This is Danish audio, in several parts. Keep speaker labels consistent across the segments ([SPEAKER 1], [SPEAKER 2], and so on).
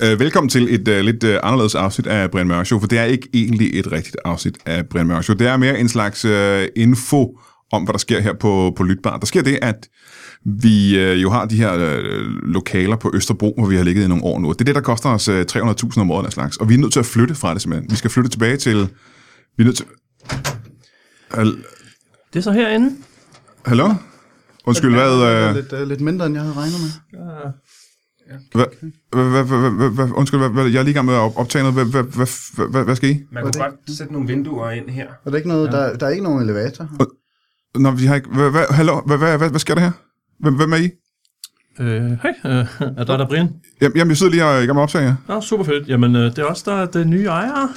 [SPEAKER 1] Øh, velkommen til et øh, lidt øh, anderledes afsnit af Brian Mørk Show, for det er ikke egentlig et rigtigt afsnit af Brian Mørk Show. Det er mere en slags øh, info om, hvad der sker her på, på Lytbar. Der sker det, at vi øh, jo har de her øh, lokaler på Østerbro, hvor vi har ligget i nogle år nu. Og Det er det, der koster os øh, 300.000 om året af slags. Og vi er nødt til at flytte fra det simpelthen. Vi skal flytte tilbage til... Vi er nødt til... Hal-
[SPEAKER 2] Det er så herinde.
[SPEAKER 1] Hallo? Undskyld, hvad... Øh,
[SPEAKER 3] Lidt, uh, lidt mindre, end jeg havde regnet med.
[SPEAKER 1] Hvad, hvad, hvad, hvad, hvad, hvad, undskyld, hvad, hvad, jeg er lige i gang med at op- optage noget. Hvad, hvad, hvad, hvad, hvad, hvad skal I?
[SPEAKER 4] Man kunne godt sætte nogle vinduer ind her.
[SPEAKER 3] Er der, ikke noget, ja. der, der er ikke nogen elevator.
[SPEAKER 1] Nå, vi har ikke... Hvad, hvad, hallo, hvad, hvad, hvad, hvad sker der her? Hvem, hvem er I?
[SPEAKER 2] Øh, hej, øh, er der der, Brian?
[SPEAKER 1] Jamen, jamen, jeg sidder lige og er i gang med at optage jer.
[SPEAKER 2] Nå, super fedt. Jamen, øh, det er også der er den nye ejer.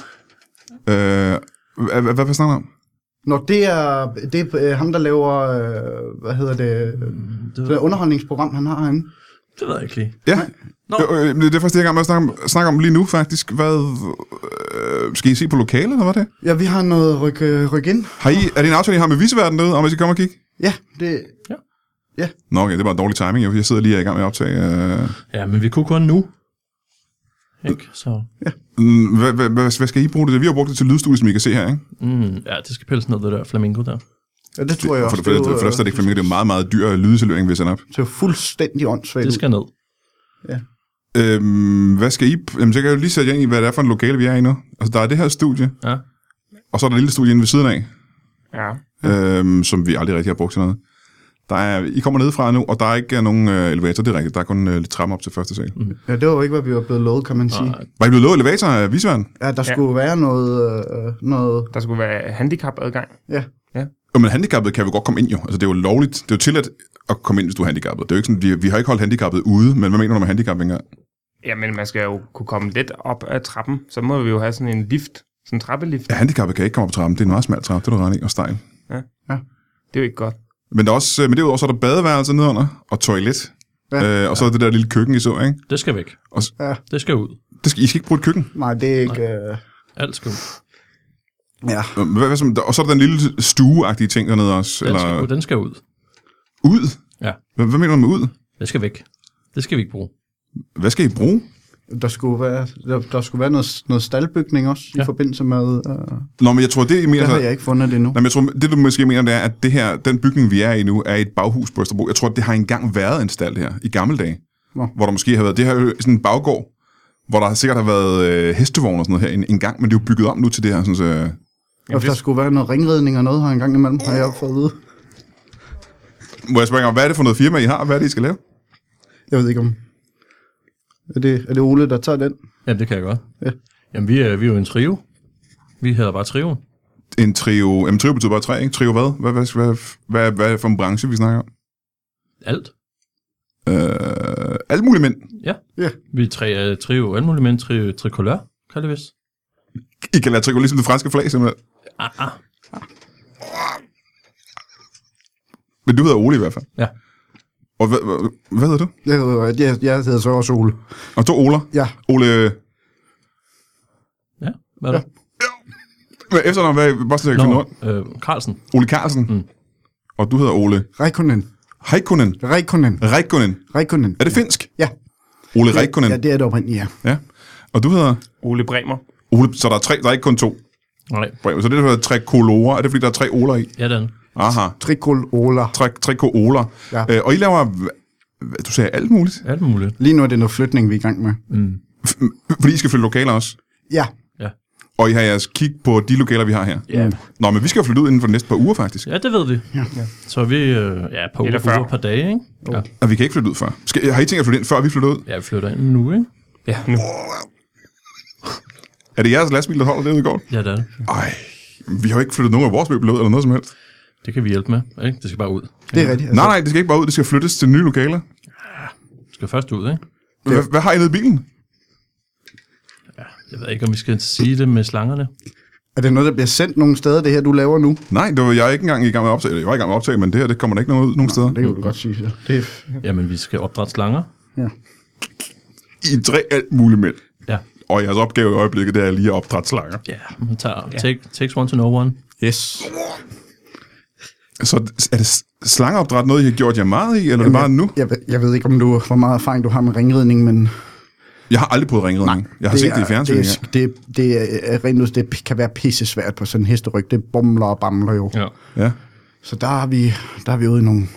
[SPEAKER 1] Øh, hvad, hvad, hvad snakker I om?
[SPEAKER 3] Nå, det er, det er øh, ham, der laver, øh, hvad hedder det, øh, det, det underholdningsprogram, han har herinde.
[SPEAKER 2] Det ved jeg ikke lige.
[SPEAKER 1] Ja,
[SPEAKER 2] Nå.
[SPEAKER 1] Øh, øh, det er faktisk det, jeg er i gang med at snakke om, snakke om lige nu, faktisk. Hvad... Øh, skal I se på lokalet, eller hvad det? er?
[SPEAKER 3] Ja, vi har noget ryk, øh, ryk ind.
[SPEAKER 1] Har I, er det en aftale, I har med viseverden derude, om at I skal komme og kigge?
[SPEAKER 3] Ja, det,
[SPEAKER 1] Nå, okay, det var en dårlig timing. jo, fordi Jeg sidder lige og er i gang med at optage... Øh,
[SPEAKER 2] Ja, men vi kunne kun nu. Ikke? Så,
[SPEAKER 1] mm, hvad, hvad, hvad, hvad, skal I bruge det til? Vi har brugt det til lydstudiet, som I kan se her, ikke?
[SPEAKER 2] mm, ja, det skal pilles ned, det der flamingo der.
[SPEAKER 3] ja, det tror jeg
[SPEAKER 1] For
[SPEAKER 3] også.
[SPEAKER 1] det, for det, for det, første er det ikke flamingo, det er jo meget, meget dyr lydeseløring, vi sender op.
[SPEAKER 3] Det er jo fuldstændig åndssvagt.
[SPEAKER 2] Det
[SPEAKER 3] Skal...
[SPEAKER 2] skal ned.
[SPEAKER 1] Øhm, hvad skal I... Jamen, så kan jeg jo lige sætte jer ind i, hvad det er for en lokale, vi er i nu. Altså, der er det her studie,
[SPEAKER 2] Ja.
[SPEAKER 1] og så er der et lille studie inde ved siden af,
[SPEAKER 4] Ja.
[SPEAKER 1] øhm, som vi aldrig rigtig har brugt til noget. Der er, I kommer nedefra nu, og der er ikke øh, nogen øh, elevator direkte. Der er kun øh, lidt trappen op til første sal. Mm.
[SPEAKER 3] Ja, det var jo ikke, hvad vi var blevet lovet, kan man sige.
[SPEAKER 2] Nej.
[SPEAKER 1] Var I blevet lovet elevator øh, af visværen?
[SPEAKER 3] Ja, der skulle være noget, øh, noget,
[SPEAKER 4] Der skulle være handicapadgang.
[SPEAKER 3] ja.
[SPEAKER 1] Jo, men handicappede kan jo godt komme ind jo. Altså, det er jo lovligt. Det er jo tilladt at komme ind, hvis du er handicappet. Det er jo ikke sådan, vi, vi har ikke holdt handicappet ude, men hvad mener du med handicap engang?
[SPEAKER 4] Jamen, man skal jo kunne komme lidt op ad trappen. Så må vi jo have sådan en lift. Sådan en trappelift.
[SPEAKER 1] Ja, handicappet kan ikke komme op trappen. Det er en meget smal trappe, det er du ret i, og stejl.
[SPEAKER 4] Det er jo ikke godt.
[SPEAKER 1] Men, der er også, øh, men derudover så er der badeværelse nedenunder, og toilet.
[SPEAKER 3] Ja.
[SPEAKER 1] Ja, øh, og så er det der lille køkken, I så, ikke?
[SPEAKER 2] Det skal væk.
[SPEAKER 1] Og s-
[SPEAKER 3] Ja.
[SPEAKER 2] Det skal ud.
[SPEAKER 1] Det skal, I skal ikke bruge et køkken.
[SPEAKER 3] Nej, det er ikke... Øh,
[SPEAKER 2] Alt skal ud.
[SPEAKER 3] ja.
[SPEAKER 1] Øh, Hvad, hvad, som, der- og så er der den lille stueagtige ting dernede også.
[SPEAKER 2] Den skal, ud.
[SPEAKER 1] Eller
[SPEAKER 2] den skal ud.
[SPEAKER 1] ud?
[SPEAKER 2] Ja.
[SPEAKER 1] Hvad, hvad mener du med ud?
[SPEAKER 2] Det skal væk. Det skal vi ikke bruge.
[SPEAKER 1] Hvad skal I bruge?
[SPEAKER 3] Der skulle være, der, der skulle være noget, noget staldbygning også ja.
[SPEAKER 2] Ja.
[SPEAKER 3] i forbindelse med... Øh,
[SPEAKER 1] Nå, men jeg tror, det I mener...
[SPEAKER 3] det har
[SPEAKER 1] Så,
[SPEAKER 3] jeg ikke fundet endnu.
[SPEAKER 1] nej, men jeg tror, det du måske mener, det er, at det her, den bygning, vi er i nu, er et baghus på Østerbro. Jeg tror, det har engang været en stald her i gamle dage.
[SPEAKER 3] Nå.
[SPEAKER 1] Hvor der måske har været... Det her er jo sådan en baggård, hvor der sikkert har været øh, hestevogne og sådan noget her en, en gang, men det er jo bygget om nu til det her. Sådan, så, øh,
[SPEAKER 3] Og der skulle være noget ringredning og noget her en gang imellem, har jeg fået at vide.
[SPEAKER 1] må jeg spørge om, hvad er det for noget firma, I har? Hvad er det, I skal lave?
[SPEAKER 3] Jeg ved ikke om... Er det, er det Ole, der tager den?
[SPEAKER 2] Jamen, det kan jeg godt.
[SPEAKER 3] Ja.
[SPEAKER 2] Jamen, vi er, vi er jo en trio. Vi hedder bare trio.
[SPEAKER 1] En trio... Jamen, trio betyder bare tre, ikke? Trio hvad? Hvad, hvad, hvad, hvad, hvad er det for en branche, vi snakker om?
[SPEAKER 2] Alt.
[SPEAKER 1] Øh, alle mulige mænd.
[SPEAKER 2] Vi er tre, øh, trio, alle mulige mænd, trio, tricolør, kan det vist.
[SPEAKER 1] I kan lade tricolore ligesom det franske flag, simpelthen.
[SPEAKER 2] Ah, ah.
[SPEAKER 1] Men du hedder Ole i hvert fald.
[SPEAKER 2] Ja.
[SPEAKER 1] Og hvad, hvad, hvad hedder du?
[SPEAKER 3] Jeg hedder, jeg, jeg hedder så også Ole.
[SPEAKER 1] Og to Oler.
[SPEAKER 3] Ja,
[SPEAKER 1] Ole...
[SPEAKER 2] Ja, hvad er der?
[SPEAKER 1] Hvad efternavn? Hvad bare så jeg kan finde rundt?
[SPEAKER 2] Nå, øh, Carlsen.
[SPEAKER 1] Ole Carlsen. Mm. Og du hedder Ole
[SPEAKER 3] Reikonen.
[SPEAKER 1] Heikkonen.
[SPEAKER 3] Reikonen.
[SPEAKER 1] Reikkonen.
[SPEAKER 3] Reikonen.
[SPEAKER 1] Er det finsk?
[SPEAKER 3] Ja.
[SPEAKER 1] Ole Reikkonen.
[SPEAKER 3] Ja, det er det oprindeligt, ja.
[SPEAKER 1] Ja. Og du hedder
[SPEAKER 4] Ole Bremer.
[SPEAKER 1] Ole... Så der er tre, der er ikke kun to.
[SPEAKER 2] Nej,
[SPEAKER 1] Så det er tre kolorer. Er det fordi, der er tre Oler i?
[SPEAKER 2] ja, den.
[SPEAKER 1] Aha.
[SPEAKER 3] Trikol Ola.
[SPEAKER 1] Tre, tre kolorer.
[SPEAKER 3] Ja.
[SPEAKER 1] Øh, og I laver... hva- hva- Du sagde alt muligt.
[SPEAKER 2] Alt muligt.
[SPEAKER 3] Lige nu er det noget flytning, vi er i gang med.
[SPEAKER 1] Fordi I skal flytte lokaler også.
[SPEAKER 3] Ja,
[SPEAKER 2] Ja.
[SPEAKER 1] Og I har jeres kig på de lokaler, vi har her.
[SPEAKER 3] Mm.
[SPEAKER 2] Ja.
[SPEAKER 1] Nå, men vi skal jo flytte ud inden for de næste par uger, faktisk.
[SPEAKER 2] ja, det ved vi.
[SPEAKER 3] Ja.
[SPEAKER 2] Så er vi, øh, ja, på
[SPEAKER 4] Eller
[SPEAKER 2] uger,
[SPEAKER 4] før.
[SPEAKER 2] uger, par dage, ikke? Ja.
[SPEAKER 1] Og vi kan ikke flytte ud før. Skal, har I tænkt at flytte ind, før vi flytter ud?
[SPEAKER 2] ja, vi flytter ind nu, ikke?
[SPEAKER 4] Ja, nu.
[SPEAKER 1] Er det jeres lastbil, der holder derude i går?
[SPEAKER 2] Ja, det er det.
[SPEAKER 1] Ej, vi har jo ikke flyttet nogen af vores møbler ud, eller noget som helst.
[SPEAKER 2] Det kan vi hjælpe med, ikke? Det skal bare ud.
[SPEAKER 3] det er rigtigt. altså.
[SPEAKER 1] Nej, nej, det skal ikke bare ud, det skal flyttes til nye lokaler.
[SPEAKER 2] Det skal først ud, ikke?
[SPEAKER 1] Hvad, hvad har I nede i bilen?
[SPEAKER 2] Jeg ved ikke, om vi skal sige det med slangerne.
[SPEAKER 3] Er det noget, der bliver sendt nogle steder, det her, du laver nu?
[SPEAKER 1] Nej, det var jeg er ikke engang i gang med at optage. Eller, jeg var i gang med at optage, men det her, det kommer der ikke noget ud nogen steder.
[SPEAKER 3] Det kan du godt sige. Så. Det er,
[SPEAKER 2] Jamen, vi skal opdrætte slanger.
[SPEAKER 3] ja.
[SPEAKER 1] I er tre alt muligt mænd.
[SPEAKER 2] Ja.
[SPEAKER 1] Og jeres opgave i øjeblikket, det er lige at opdrætte slanger.
[SPEAKER 2] Ja, man tager, take, takes one to know one.
[SPEAKER 3] Yes.
[SPEAKER 1] Så er det s- slangeopdræt noget, I har gjort jer meget i, eller er det bare nu?
[SPEAKER 3] Jeg, ved- jeg ved ikke, om du, hvor meget erfaring du har med ringridning, men
[SPEAKER 1] Jeg har aldrig prøvet ringridning. Nej, jeg har set det i fjernsynet.
[SPEAKER 3] Det, er, det, er- det, er, rent ud, det kan være pisse svært på sådan en hesteryg. Det bumler og bamler jo.
[SPEAKER 2] Ja.
[SPEAKER 1] ja. ja.
[SPEAKER 3] Så der er vi, der er vi ude i nogle...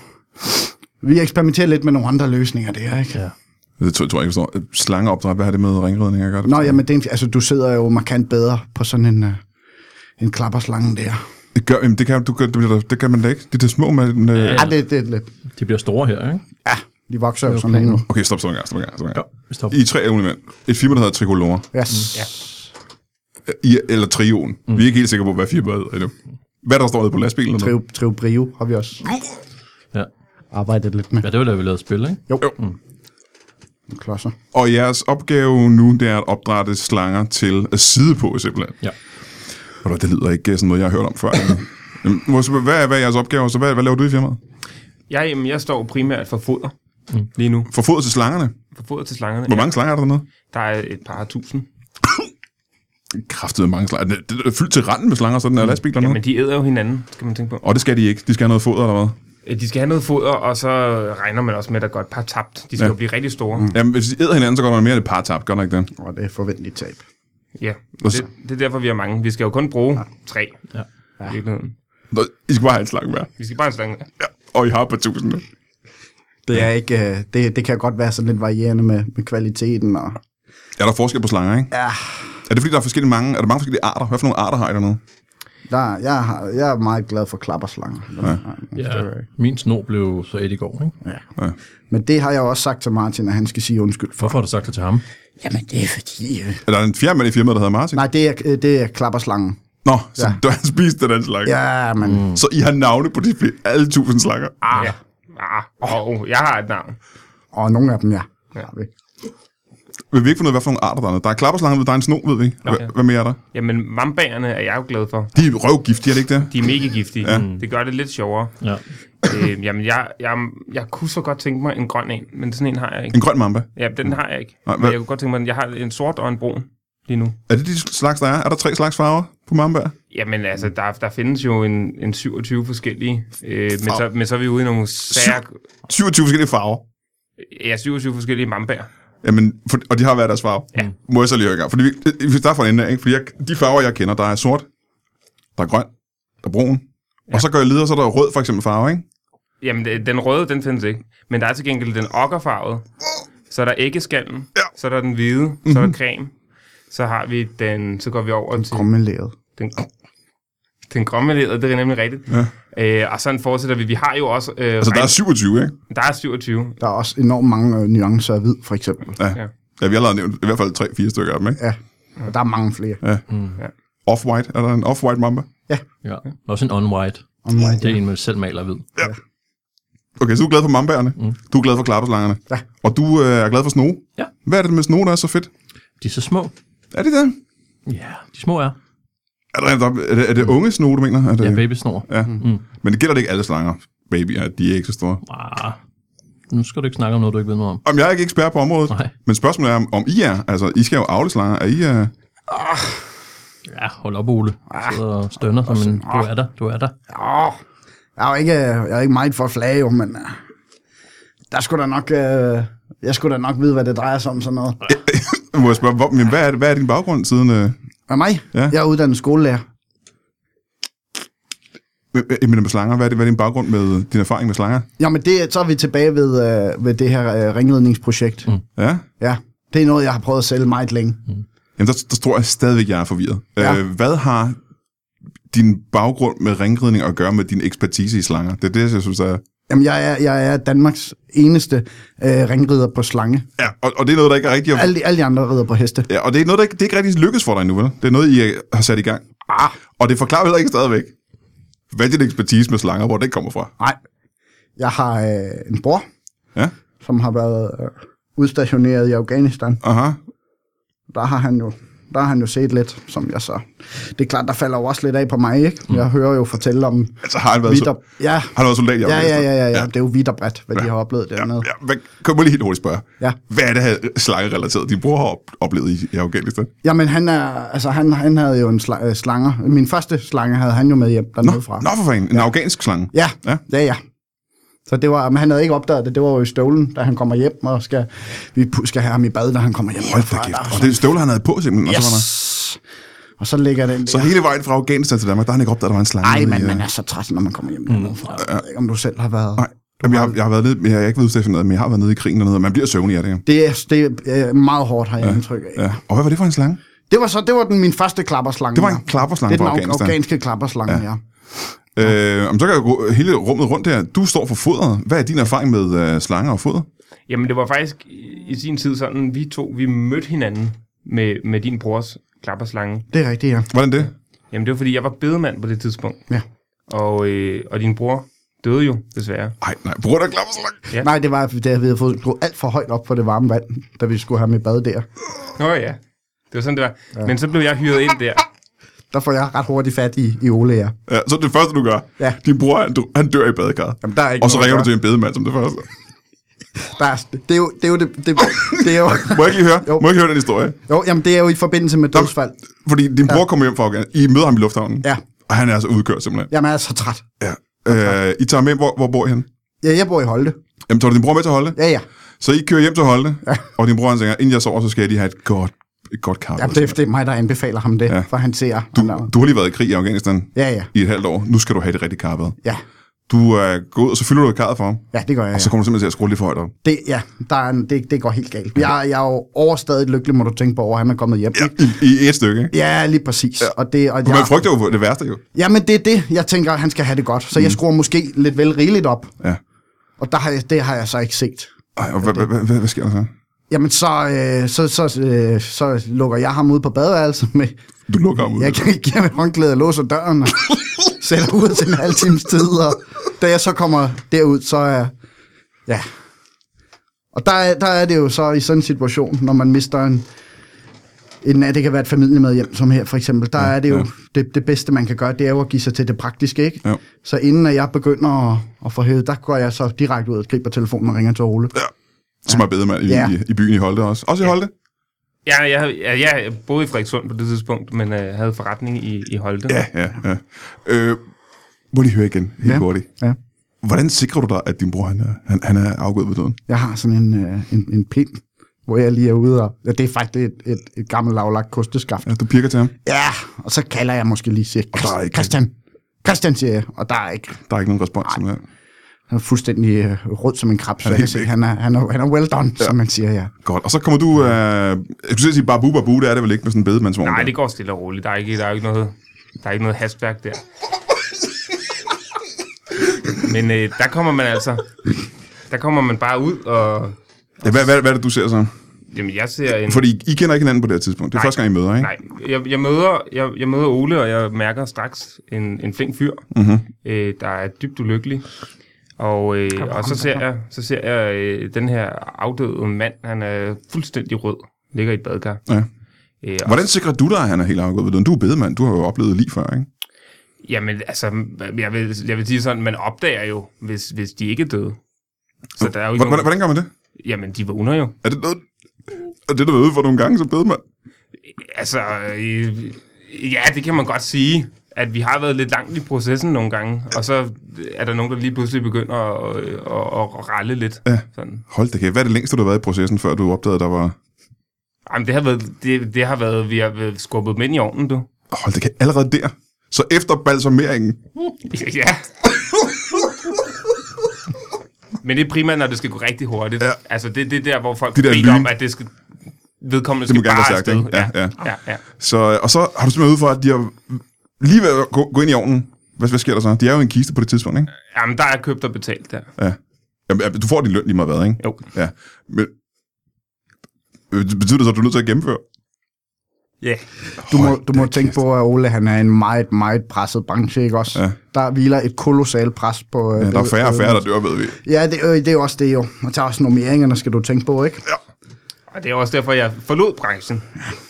[SPEAKER 3] Vi eksperimenterer lidt med nogle andre løsninger der, ikke? Ja.
[SPEAKER 1] Det tror, jeg- tror jeg ikke, jeg forstår. Slangeopdræt, hvad har det med ringridning at gøre? Det
[SPEAKER 3] Nå,
[SPEAKER 1] forstår jeg
[SPEAKER 3] jamen, det er, en- altså, du sidder jo markant bedre på sådan en, øh, en klapperslange der. Ja.
[SPEAKER 1] ikke. det, gør, jamen, det, kan, du, gør- det, bliver der- det kan man da ikke. Det er det små, man... Øh,
[SPEAKER 3] Ej, Ah, det, det er lidt...
[SPEAKER 2] De bliver store her, ikke?
[SPEAKER 3] Ja, de vokser jo sådan her nu.
[SPEAKER 1] okay, stop, stop en gang, stop en gang, stop en gang.
[SPEAKER 2] vi stopper.
[SPEAKER 1] I er tre element. Et firma, der hedder Tricolore.
[SPEAKER 3] Yes.
[SPEAKER 4] Ja.
[SPEAKER 3] Mm. Ja.
[SPEAKER 1] I, eller Trioen. Mm. Vi er ikke helt sikre på, hvad firmaet hedder endnu. Hvad der står nede på lastbilen? eller
[SPEAKER 3] Triv, triv brio har vi også
[SPEAKER 2] Ja.
[SPEAKER 3] arbejdet lidt med.
[SPEAKER 2] ja, det var da, vi lavede spil, ikke?
[SPEAKER 3] Jo.
[SPEAKER 1] Jo.
[SPEAKER 3] jo. Mm. Klodser.
[SPEAKER 1] Og jeres opgave nu, det er at opdrætte slanger til at side på, simpelthen.
[SPEAKER 2] Ja.
[SPEAKER 1] Og det lyder ikke øh, sådan noget, jeg har hørt om før. Jamen, hvor- hvad, er, hvad er jeres opgave? Så hvad, hvad laver du i firmaet?
[SPEAKER 4] Jeg, jamen, jeg står primært for foder mm. lige nu.
[SPEAKER 1] For foder til slangerne.
[SPEAKER 4] For foder til slangerne.
[SPEAKER 1] Hvor mange slanger er der dernede?
[SPEAKER 4] Ja, der er et par tusind.
[SPEAKER 1] Kræftede mange slanger. Det det er fyldt til randen med slanger, sådan er lastbiler nu.
[SPEAKER 4] Jamen, de æder jo hinanden, skal man tænke på.
[SPEAKER 1] Og det skal de ikke. De skal have noget foder eller hvad?
[SPEAKER 4] Øh, De skal have noget foder, og så regner man også med, at der går et par tabt. De skal
[SPEAKER 1] Ja.
[SPEAKER 4] ja. jo blive rigtig store. Mm.
[SPEAKER 1] Jamen, hvis de æder hinanden, så går der mere end et par tab. Gør der ikke det?
[SPEAKER 3] Og det er forventeligt tab.
[SPEAKER 4] Ja,
[SPEAKER 1] Og så-
[SPEAKER 4] det, det er derfor, vi har mange. Vi skal jo kun bruge ja. tre.
[SPEAKER 2] Ja.
[SPEAKER 4] Ja. Vi
[SPEAKER 1] Nå, I skal bare have en slange hver.
[SPEAKER 4] skal bare have en slange.
[SPEAKER 1] Ja. Og I har et par tusinde.
[SPEAKER 3] Det, er ikke, øh, det, det kan godt være sådan lidt varierende med, med kvaliteten. Og,
[SPEAKER 1] Er der forskel på slanger, ikke?
[SPEAKER 3] ja,
[SPEAKER 1] Er det fordi, der er forskellige mange, er der mange forskellige arter? Hvad for nogle arter har I dernede?
[SPEAKER 3] der, jeg, har, jeg er meget glad for klapperslanger. Ja.
[SPEAKER 2] ja. Min snor blev så et i går, ikke?
[SPEAKER 3] Men det har jeg også sagt til Martin, at han skal sige undskyld for.
[SPEAKER 2] Hvorfor har du sagt det til ham?
[SPEAKER 3] Jamen, det er fordi... Øh.
[SPEAKER 1] Er der en fjerde mand i firmaet, der hedder Martin?
[SPEAKER 3] Nej, det er, øh, det er klapperslangen.
[SPEAKER 1] Nå, så
[SPEAKER 3] Ja.
[SPEAKER 1] du har spist den anden slange.
[SPEAKER 3] Ja, men... Mm.
[SPEAKER 1] Så I har navne på de fl- alle tusind slanger.
[SPEAKER 4] Ah, ja. ah oh, jeg har et navn.
[SPEAKER 3] Og nogle af dem, ja. ja.
[SPEAKER 4] Ja.
[SPEAKER 3] Har vi.
[SPEAKER 1] Vil vi ikke finde ud af, hvad for nogle arter der er? Der er klapperslange, ved, der er en sno, ved vi. Hva- Hvad mere er der?
[SPEAKER 4] Jamen, vambagerne er jeg jo glad for.
[SPEAKER 1] De er røvgiftige, er det ikke det?
[SPEAKER 4] De er mega giftige. Ja. Det gør det lidt sjovere.
[SPEAKER 2] Ja.
[SPEAKER 4] øh, jamen, jeg, jeg, jeg kunne så godt tænke mig en grøn en, men sådan en har jeg ikke.
[SPEAKER 1] En grøn mamba.
[SPEAKER 4] Ja, den har jeg ikke.
[SPEAKER 1] Nej,
[SPEAKER 4] men
[SPEAKER 1] hvad-
[SPEAKER 4] jeg kunne godt tænke mig, den. jeg har en sort og en brun lige nu.
[SPEAKER 1] Er det de slags, der er? Er der tre slags farver på mamba?
[SPEAKER 4] Jamen altså, der, der findes jo en, en 27 forskellige, øh, men, så, men så er vi ude i nogle sær...
[SPEAKER 1] 27 forskellige farver.
[SPEAKER 4] Ja, 27 forskellige mambager.
[SPEAKER 1] Jamen, for, og de har hver deres farve.
[SPEAKER 4] Ja.
[SPEAKER 1] Må jeg så lige høre i gang? Fordi vi, vi starter fra en ende af, ikke? Fordi jeg, de farver, jeg kender, der er sort, der er grøn, der er brun. Ja. Og så går jeg videre, så er der rød for eksempel farve, ikke?
[SPEAKER 4] Jamen, det- den røde, den findes ikke. Men der er til gengæld den okkerfarvede. Så er der æggeskallen.
[SPEAKER 1] Ja. Mhm.
[SPEAKER 4] Så er der den hvide. Mm-hmm. Så er der creme. Så har vi den... Så går vi over til
[SPEAKER 3] Krummeleret.
[SPEAKER 4] den, den grønmelerede. Det er nemlig rigtigt. Ja. Øh, og sådan fortsætter vi. Vi har jo også... Øh,
[SPEAKER 1] Altså, der er 27, ikke?
[SPEAKER 4] der er 27.
[SPEAKER 3] Der er også enormt mange øh, nuancer af hvid, for eksempel.
[SPEAKER 1] Ja. ja.
[SPEAKER 4] Ja.
[SPEAKER 1] ja vi har allerede nævnt i hvert fald 3-4 stykker af dem, ikke?
[SPEAKER 3] Ja, og der er mange flere.
[SPEAKER 1] Off-white, er der en off-white mamba?
[SPEAKER 2] ja. Også en on-white.
[SPEAKER 3] Om mig.
[SPEAKER 2] Det er en, man selv maler hvid.
[SPEAKER 1] Okay, så du er glad for mambaerne. Mm. Du er glad for klapperslangerne.
[SPEAKER 3] Ja.
[SPEAKER 1] Og du øh, er glad for sno.
[SPEAKER 2] Ja.
[SPEAKER 1] Hvad er det med sno, der er så fedt?
[SPEAKER 2] De er så små.
[SPEAKER 1] Er det det?
[SPEAKER 2] Ja, de små er.
[SPEAKER 1] Er, der, er, det, er det unge sno, du mener? Er det,
[SPEAKER 2] Ja, babysnor.
[SPEAKER 1] ja. Mm. Men det gælder det ikke alle slanger. Babyer, de er ikke så store.
[SPEAKER 2] Ah, nu skal du ikke snakke om noget, du ikke ved noget om.
[SPEAKER 1] Om jeg er ikke ekspert på området,
[SPEAKER 2] Nej.
[SPEAKER 1] men spørgsmålet er, om- om I er. Altså, I skal jo afle slanger. Er I, øh,
[SPEAKER 2] Ja, hold op, Ole. Du sidder og stønner, som Ah, en, du er der, du er der.
[SPEAKER 3] Åh, jeg er jo ikke, øh, jeg er ikke meget for at flage, jo, men øh, der skulle da nok, øh, jeg skulle da nok vide, hvad det drejer sig om sådan noget.
[SPEAKER 1] må jeg spørge, hvor, men hvad, er det, hvad er din baggrund siden... Øh,
[SPEAKER 3] Og mig?
[SPEAKER 1] Ja.
[SPEAKER 3] Jeg er uddannet skolelærer.
[SPEAKER 1] jeg mener øh, med slanger, hvad er, det, hvad er din baggrund med øh, din erfaring med slanger?
[SPEAKER 3] Jamen, det, så er vi tilbage ved, øh, ved det her øh, ringledningsprojekt. Mm.
[SPEAKER 1] Ja?
[SPEAKER 3] Ja, det er noget, jeg har prøvet at sælge meget længe.
[SPEAKER 1] Jamen, der, der tror jeg stadigvæk, jeg er forvirret. Ja.
[SPEAKER 3] Ja.
[SPEAKER 1] Øh, hvad har din baggrund med ringridning at gøre med din ekspertise i slanger? Det er det, jeg synes er...
[SPEAKER 3] Jamen, jeg er, jeg er Danmarks eneste øh, ringrider på slange.
[SPEAKER 1] Ja, og, og det er noget, der ikke er rigtigt...
[SPEAKER 3] Alle, de- alle de andre rider på heste.
[SPEAKER 1] Ja, og det er noget, der ikke, det er ikke rigtig lykkes for dig endnu, vel? Det er noget, I øh, har sat i gang. Ah. Og det forklarer heller ikke stadigvæk, hvad din ekspertise med slanger, hvor det kommer fra.
[SPEAKER 3] Nej. Jeg har øh, en bror,
[SPEAKER 1] Ja,
[SPEAKER 3] som har været øh, udstationeret i Afghanistan.
[SPEAKER 1] aha.
[SPEAKER 3] der har han jo der har han jo set lidt, som jeg så... Det er klart, der falder jo også lidt af på mig, ikke? Jeg hører jo fortælle om
[SPEAKER 1] Altså har han været,
[SPEAKER 3] vidt
[SPEAKER 1] Mm. så,
[SPEAKER 3] og... Ja,
[SPEAKER 1] har han været soldat i
[SPEAKER 3] ja, ja,
[SPEAKER 1] Afghanistan?
[SPEAKER 3] ja, ja, ja. Det er jo vidt og bredt, hvad de har oplevet dernede.
[SPEAKER 1] Ja, hvad, kan man lige helt hurtigt spørge.
[SPEAKER 3] Ja.
[SPEAKER 1] Hvad er det her slangerelateret, din bror har op- oplevet i, i Afghanistan?
[SPEAKER 3] Jamen, han, er, altså, han, han havde jo en sla- øh, slanger. Min første slange havde han jo med hjem
[SPEAKER 1] Nå,
[SPEAKER 3] dernede fra.
[SPEAKER 1] nå for fanden, en afghansk slange.
[SPEAKER 3] Ja,
[SPEAKER 1] Ja.
[SPEAKER 3] ja, ja. Så det var, men han havde ikke opdaget det, det var jo i støvlen, da han kommer hjem, og skal, vi pu- skal have ham i bad, når han kommer hjem.
[SPEAKER 1] Hold da kæft. Og det støvler, han havde på simpelthen. Og så, var der,
[SPEAKER 3] yes. Og så ligger den
[SPEAKER 1] så
[SPEAKER 3] der.
[SPEAKER 1] hele vejen fra Afghanistan til Danmark, der har han ikke opdaget, at der var en slange. nede
[SPEAKER 3] Ej,
[SPEAKER 1] i,
[SPEAKER 3] men
[SPEAKER 1] øh,
[SPEAKER 3] man er så træt, når man kommer hjem dernedefra. Jeg ved ikke, om du selv har været...
[SPEAKER 1] Mm. Nej, Jamen, jeg, har- jeg, har været nede, jeg har ikke været udstationeret, men jeg har været nede i krigen dernede, og man bliver søvnig af det. Ja.
[SPEAKER 3] Det er, det er øh, meget hårdt, har jeg ja. indtryk af.
[SPEAKER 1] ja. Og hvad var det for en slange?
[SPEAKER 3] Det var så det var den, min første klapperslange.
[SPEAKER 1] Det var en
[SPEAKER 3] ja.
[SPEAKER 1] klapperslange
[SPEAKER 3] Det er
[SPEAKER 1] fra
[SPEAKER 3] den af-
[SPEAKER 1] Afghanistan.
[SPEAKER 3] afghanske klapperslange, ja. ja.
[SPEAKER 1] Øh, om så kan jeg gå hele rummet rundt der. Du står for fodret. Hvad er din erfaring med øh, slanger og foder?
[SPEAKER 4] Jamen, det var faktisk i- i sin tid sådan, vi to, vi mødte hinanden med, med din brors klapperslange.
[SPEAKER 3] Det er rigtigt, ja.
[SPEAKER 1] Hvordan det?
[SPEAKER 4] Jamen, det var, fordi jeg var bedemand på det tidspunkt.
[SPEAKER 3] Ja.
[SPEAKER 4] Og, øh, og din bror døde jo, desværre.
[SPEAKER 1] Ej, nej, på grund af klapperslange.
[SPEAKER 4] Ja.
[SPEAKER 3] Nej, det var, da vi havde fået skruet alt for højt op på det varme vand, da vi skulle have med bad der.
[SPEAKER 4] Nå ja, det var sådan, det var. Ja. Men så blev jeg hyret ind der.
[SPEAKER 3] Der får jeg ret hurtigt fat i, i Ole, ja.
[SPEAKER 1] Ja, så det første, du gør.
[SPEAKER 3] Ja.
[SPEAKER 1] Din bror, han, han dør i badekarret.
[SPEAKER 3] Jamen, der er ikke
[SPEAKER 1] Og så
[SPEAKER 3] noget at
[SPEAKER 1] ringer du
[SPEAKER 3] gøre.
[SPEAKER 1] til en bedemand som det første.
[SPEAKER 3] Der er, det er jo det, er jo det, det, det er jo,
[SPEAKER 1] Må jeg ikke lige høre?
[SPEAKER 3] Jo.
[SPEAKER 1] Må jeg ikke høre den historie?
[SPEAKER 3] jo, jamen, det er jo i forbindelse med dødsfald.
[SPEAKER 1] Fordi din bror kommer hjem fra Afghanistan. I møder ham i lufthavnen.
[SPEAKER 3] Ja.
[SPEAKER 1] Og han er altså udkørt simpelthen.
[SPEAKER 3] Jamen, jeg er så træt.
[SPEAKER 1] Ja. Øh, I tager med, hvor, hvor bor I henne?
[SPEAKER 3] Ja, jeg bor i Holte.
[SPEAKER 1] Jamen, tager du din bror med til Holde?
[SPEAKER 3] Ja, ja.
[SPEAKER 1] Så I kører hjem til Holde, ja. og din bror han tænker, inden jeg sover, så skal jeg lige have et godt, et godt kaffe.
[SPEAKER 3] Jamen, det, det er mig, der anbefaler ham det,
[SPEAKER 1] Ja.
[SPEAKER 3] ja. for han ser.
[SPEAKER 1] du,
[SPEAKER 3] han er-
[SPEAKER 1] du har lige været i krig i Afghanistan
[SPEAKER 3] Ja, ja.
[SPEAKER 1] i et halvt år. Nu skal du have det rigtige karpet.
[SPEAKER 3] Ja,
[SPEAKER 1] Du øh, går ud, og så fylder du karret for ham.
[SPEAKER 3] ja det gør jeg.
[SPEAKER 1] Og
[SPEAKER 3] Ja.
[SPEAKER 1] så kommer du simpelthen til at skrue lidt for højt op.
[SPEAKER 3] Det, ja, der er en, det, det går helt galt. Jeg, jeg er jo overstadig lykkelig, må du tænke på, over at han er kommet hjem.
[SPEAKER 1] Ja,
[SPEAKER 3] ikke?
[SPEAKER 1] i, i et stykke, ikke?
[SPEAKER 3] Ja, lige præcis. Ja. Og det, og
[SPEAKER 1] For
[SPEAKER 3] jeg,
[SPEAKER 1] man frygter jo det værste, jo.
[SPEAKER 3] Jamen, det er det, jeg tænker, han skal have det godt. Så mm. jeg skruer måske lidt vel rigeligt op.
[SPEAKER 1] Ja.
[SPEAKER 3] Og der har jeg, det har jeg så ikke set.
[SPEAKER 1] Ej, og hvad, hvad, hvad, hvad, hvad sker der så?
[SPEAKER 3] Jamen, så, øh, så, så, øh, så lukker jeg ham ud på badeværelset med...
[SPEAKER 1] Du lukker ham ud.
[SPEAKER 3] Jeg gi- giver ham et håndklæde og låser døren og sætter ud til en halv times tid. Og da jeg så kommer derud, så er... Ja. Og der, er- der er det jo så i sådan en situation, når man mister en... en det kan være et familiemedhjem, som her for eksempel. Der er det jo
[SPEAKER 1] ja.
[SPEAKER 3] det, det bedste, man kan gøre, det er jo at give sig til det praktiske, ikke?
[SPEAKER 1] Ja.
[SPEAKER 3] Så inden at jeg begynder at, at få hævet, der går jeg så direkte ud og griber telefonen og ringer til Ole.
[SPEAKER 1] Som er bedemand i,
[SPEAKER 3] Ja.
[SPEAKER 1] i, i, byen i Holte også. Også i Holte?
[SPEAKER 4] Ja, jeg, havde- ja, jeg boede i Frederikssund på det tidspunkt, men øh, havde forretning i, i Holte.
[SPEAKER 1] Ja, ja, ja. Øh, må lige høre igen, helt
[SPEAKER 3] Ja.
[SPEAKER 1] hurtigt.
[SPEAKER 3] Ja.
[SPEAKER 1] Hvordan sikrer du dig, at din bror han er, han, han er afgået ved døden?
[SPEAKER 3] Jeg har sådan en, øh, en, en pind, hvor jeg lige er ude og... Ja, det er faktisk et, et, et gammelt lavlagt kosteskaft.
[SPEAKER 1] Ja, du pirker til ham.
[SPEAKER 3] Ja, og så kalder jeg måske lige siger,
[SPEAKER 1] der er
[SPEAKER 3] Christ,
[SPEAKER 1] ikke-
[SPEAKER 3] Christian. Christian, siger jeg, og der er ikke...
[SPEAKER 1] Der er ikke nogen respons. simpelthen.
[SPEAKER 3] Han er fuldstændig øh, rød som en krab, så
[SPEAKER 1] er
[SPEAKER 3] jeg kan
[SPEAKER 1] helt
[SPEAKER 3] se,
[SPEAKER 1] væk.
[SPEAKER 3] han er, han, er, han er well done, ja. som man siger, ja.
[SPEAKER 1] Godt. Og så kommer du... Øh, jeg skulle til at sige babu, babu, det er det vel ikke med sådan en bedemandsvogn?
[SPEAKER 4] Nej,
[SPEAKER 1] der?
[SPEAKER 4] det går stille og roligt. Der er ikke, der er ikke noget, der er ikke noget hastværk der. Men øh, der kommer man altså, der kommer man bare ud, og
[SPEAKER 1] Ja, hvad, hvad, hvad er det, du ser så?
[SPEAKER 4] jamen, jeg ser en...
[SPEAKER 1] Fordi I kender ikke hinanden på det her tidspunkt. Det er
[SPEAKER 4] Nej.
[SPEAKER 1] første gang, I møder, ikke?
[SPEAKER 4] Nej, jeg, jeg, møder, jeg, jeg møder Ole, og jeg mærker straks en, en flink fyr,
[SPEAKER 1] Mhm.
[SPEAKER 4] mm-hmm. øh, der er dybt ulykkelig. Og, øh, og så ser jeg, så ser jeg øh, den her afdøde mand, han er fuldstændig rød, ligger i et badkar.
[SPEAKER 1] Ja.
[SPEAKER 4] Øh, og
[SPEAKER 1] Hvordan sikrer du dig, at han er helt afgået ved døden? Du er bedemand, du har jo oplevet lige før, ikke?
[SPEAKER 4] Jamen, altså, jeg vil, jeg vil sige sådan, man opdager jo, hvis, hvis de ikke er døde. Så der er jo ikke
[SPEAKER 1] Hvordan,
[SPEAKER 4] nogen,
[SPEAKER 1] hvordan gør man det?
[SPEAKER 4] Jamen, de vågner jo.
[SPEAKER 1] Er det noget, er det noget ude for nogle gange som bedemand?
[SPEAKER 4] Altså, øh, ja, det kan man godt sige, at vi har været lidt langt i processen nogle gange, og så er der nogen, der lige pludselig begynder at, at, at ralle lidt.
[SPEAKER 1] Ja.
[SPEAKER 4] Sådan.
[SPEAKER 1] Hold da kæft, hvad er det længste, du har været i processen, før du opdagede, der var...
[SPEAKER 4] Jamen, det har været, det, det har været, vi har været skubbet dem ind i ovnen, du.
[SPEAKER 1] Hold da kæft, allerede der. Så efter balsameringen.
[SPEAKER 4] Ja. Men det er primært, når det skal gå rigtig hurtigt.
[SPEAKER 1] Ja.
[SPEAKER 4] Altså, det, det er der, hvor folk
[SPEAKER 1] De der
[SPEAKER 4] beder om,
[SPEAKER 1] lyn.
[SPEAKER 4] at det skal, vedkommende
[SPEAKER 1] Det må
[SPEAKER 4] skal
[SPEAKER 1] gerne
[SPEAKER 4] bare
[SPEAKER 1] have sagt,
[SPEAKER 4] afsted.
[SPEAKER 1] ikke? Ja,
[SPEAKER 4] ja.
[SPEAKER 1] ja.
[SPEAKER 4] ja, ja.
[SPEAKER 1] Så, øh, og så har du simpelthen ude for, at de har lige ved at gå, gå ind i ovnen. Hvad, hvad sker der så? De er jo i en kiste på det tidspunkt, ikke?
[SPEAKER 4] Jamen, der er købt og betalt der.
[SPEAKER 1] Ja. Jamen, ja, du får din løn lige meget hvad, ikke?
[SPEAKER 4] Jo.
[SPEAKER 1] Ja. Men Øh, betyder det så, at du er nødt til at gennemføre?
[SPEAKER 4] Ja.
[SPEAKER 3] Du må,
[SPEAKER 1] Hold
[SPEAKER 3] du må
[SPEAKER 1] da
[SPEAKER 3] tænke på, at Ole, han er en meget, meget presset branche, ikke også?
[SPEAKER 1] Ja.
[SPEAKER 3] Der hviler et kolossalt pres på... Øh,
[SPEAKER 1] Ja, der er færre og færre, der dør, ved vi.
[SPEAKER 3] Ja, det, øh, det er jo også det jo. Og der er også nummeringerne, skal du tænke på, ikke?
[SPEAKER 4] Og det er også derfor, jeg forlod branchen.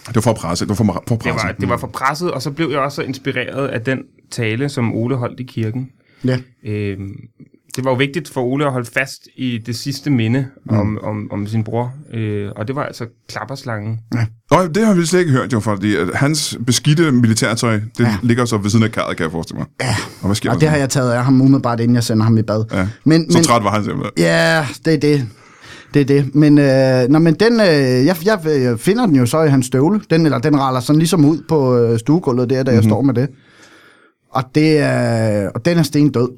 [SPEAKER 1] Det var for at presse. Det var for, for at
[SPEAKER 4] Det
[SPEAKER 1] presse.
[SPEAKER 4] var, det var for presset, og så blev jeg også inspireret af den tale, som Ole holdt i kirken.
[SPEAKER 3] Ja.
[SPEAKER 4] Øhm, det var jo vigtigt for Ole at holde fast i det sidste minde mm. om, om, om sin bror, øh, og det var altså klapperslangen.
[SPEAKER 1] Nå, det har vi slet ikke hørt jo, fordi at hans beskidte militærtøj, det ja. ligger så ved siden af karret, kan jeg forestille mig. Ja. Og hvad sker
[SPEAKER 3] Og
[SPEAKER 1] der?
[SPEAKER 3] det har
[SPEAKER 1] så?
[SPEAKER 3] jeg taget af ham umiddelbart, inden jeg sender ham i bad.
[SPEAKER 1] Ja.
[SPEAKER 3] Men,
[SPEAKER 1] Så
[SPEAKER 3] men,
[SPEAKER 1] træt var han simpelthen.
[SPEAKER 3] Ja, det er det. Det er det. Men, øh, nå, men den, øh, jeg, jeg øh, finder den jo så i hans støvle. Den, eller den raller sådan ligesom ud på øh, stuegulvet der, da jeg mm-hmm. står med det. Og, det er, og den er sten død.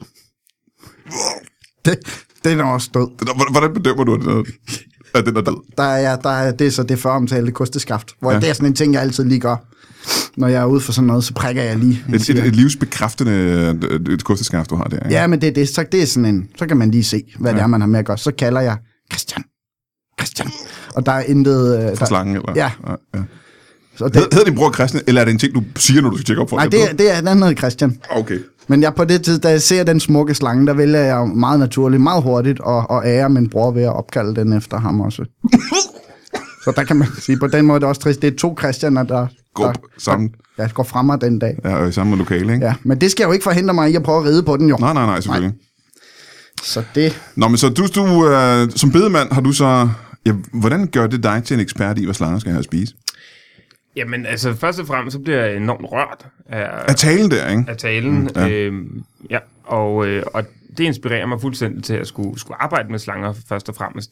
[SPEAKER 3] Det, den er også død.
[SPEAKER 1] Hvordan- Hvordan bedømmer du, at- at den er død?
[SPEAKER 3] Der er, der er, det er så det føromtalte kosteskaft, hvor
[SPEAKER 1] Ja.
[SPEAKER 3] ja. det er sådan en ting, jeg altid lige gør. Når jeg er ude for sådan noget, så prikker jeg lige.
[SPEAKER 1] Et, et, et livsbekræftende øh, et- et kosteskaft, du har der. ikke?
[SPEAKER 3] Ja, men det er det. Så, det er sådan en, så kan man lige se, hvad ja. det er, man har med at gøre. Så kalder jeg Christian. Christian. Og der er intet... Øh,
[SPEAKER 1] For
[SPEAKER 3] der,
[SPEAKER 1] slangen, eller?
[SPEAKER 3] Ja.
[SPEAKER 1] ja.
[SPEAKER 3] så det,
[SPEAKER 1] Hed, hedder din bror Christian, eller er det en ting, du siger, når du skal tjekke op for?
[SPEAKER 3] Nej,
[SPEAKER 1] at
[SPEAKER 3] det,
[SPEAKER 1] den
[SPEAKER 3] er- det er, den hedder Christian.
[SPEAKER 1] død? Okay.
[SPEAKER 3] Men jeg på det tid, da jeg ser den smukke slange, der vælger jeg meget naturligt, meget hurtigt at, at ære min bror ved at opkalde den efter ham også. Så der kan man sige, på den måde er det også trist. Det er to Christianer, der,
[SPEAKER 1] Gå
[SPEAKER 3] der,
[SPEAKER 1] op sammen.
[SPEAKER 3] der går frem mig den dag.
[SPEAKER 1] Ja, og i samme lokale, ikke?
[SPEAKER 3] Ja, men det skal jo ikke forhindre mig i at prøve at ride på den, jo.
[SPEAKER 1] Nej, nej, nej, selvfølgelig. Nej.
[SPEAKER 3] Så det...
[SPEAKER 1] Nå, men så du, du øh, som bedemand har du så... Ja, hvordan gør det dig til en ekspert i, hvad slanger skal have at spise?
[SPEAKER 4] Jamen altså, først og fremmest, så bliver jeg enormt rørt af,
[SPEAKER 1] Er talen der, ikke?
[SPEAKER 4] af talen. Mm, ja. Øhm, ja, og, øh, og det inspirerer mig fuldstændig til at skulle, skulle arbejde med slanger først og fremmest.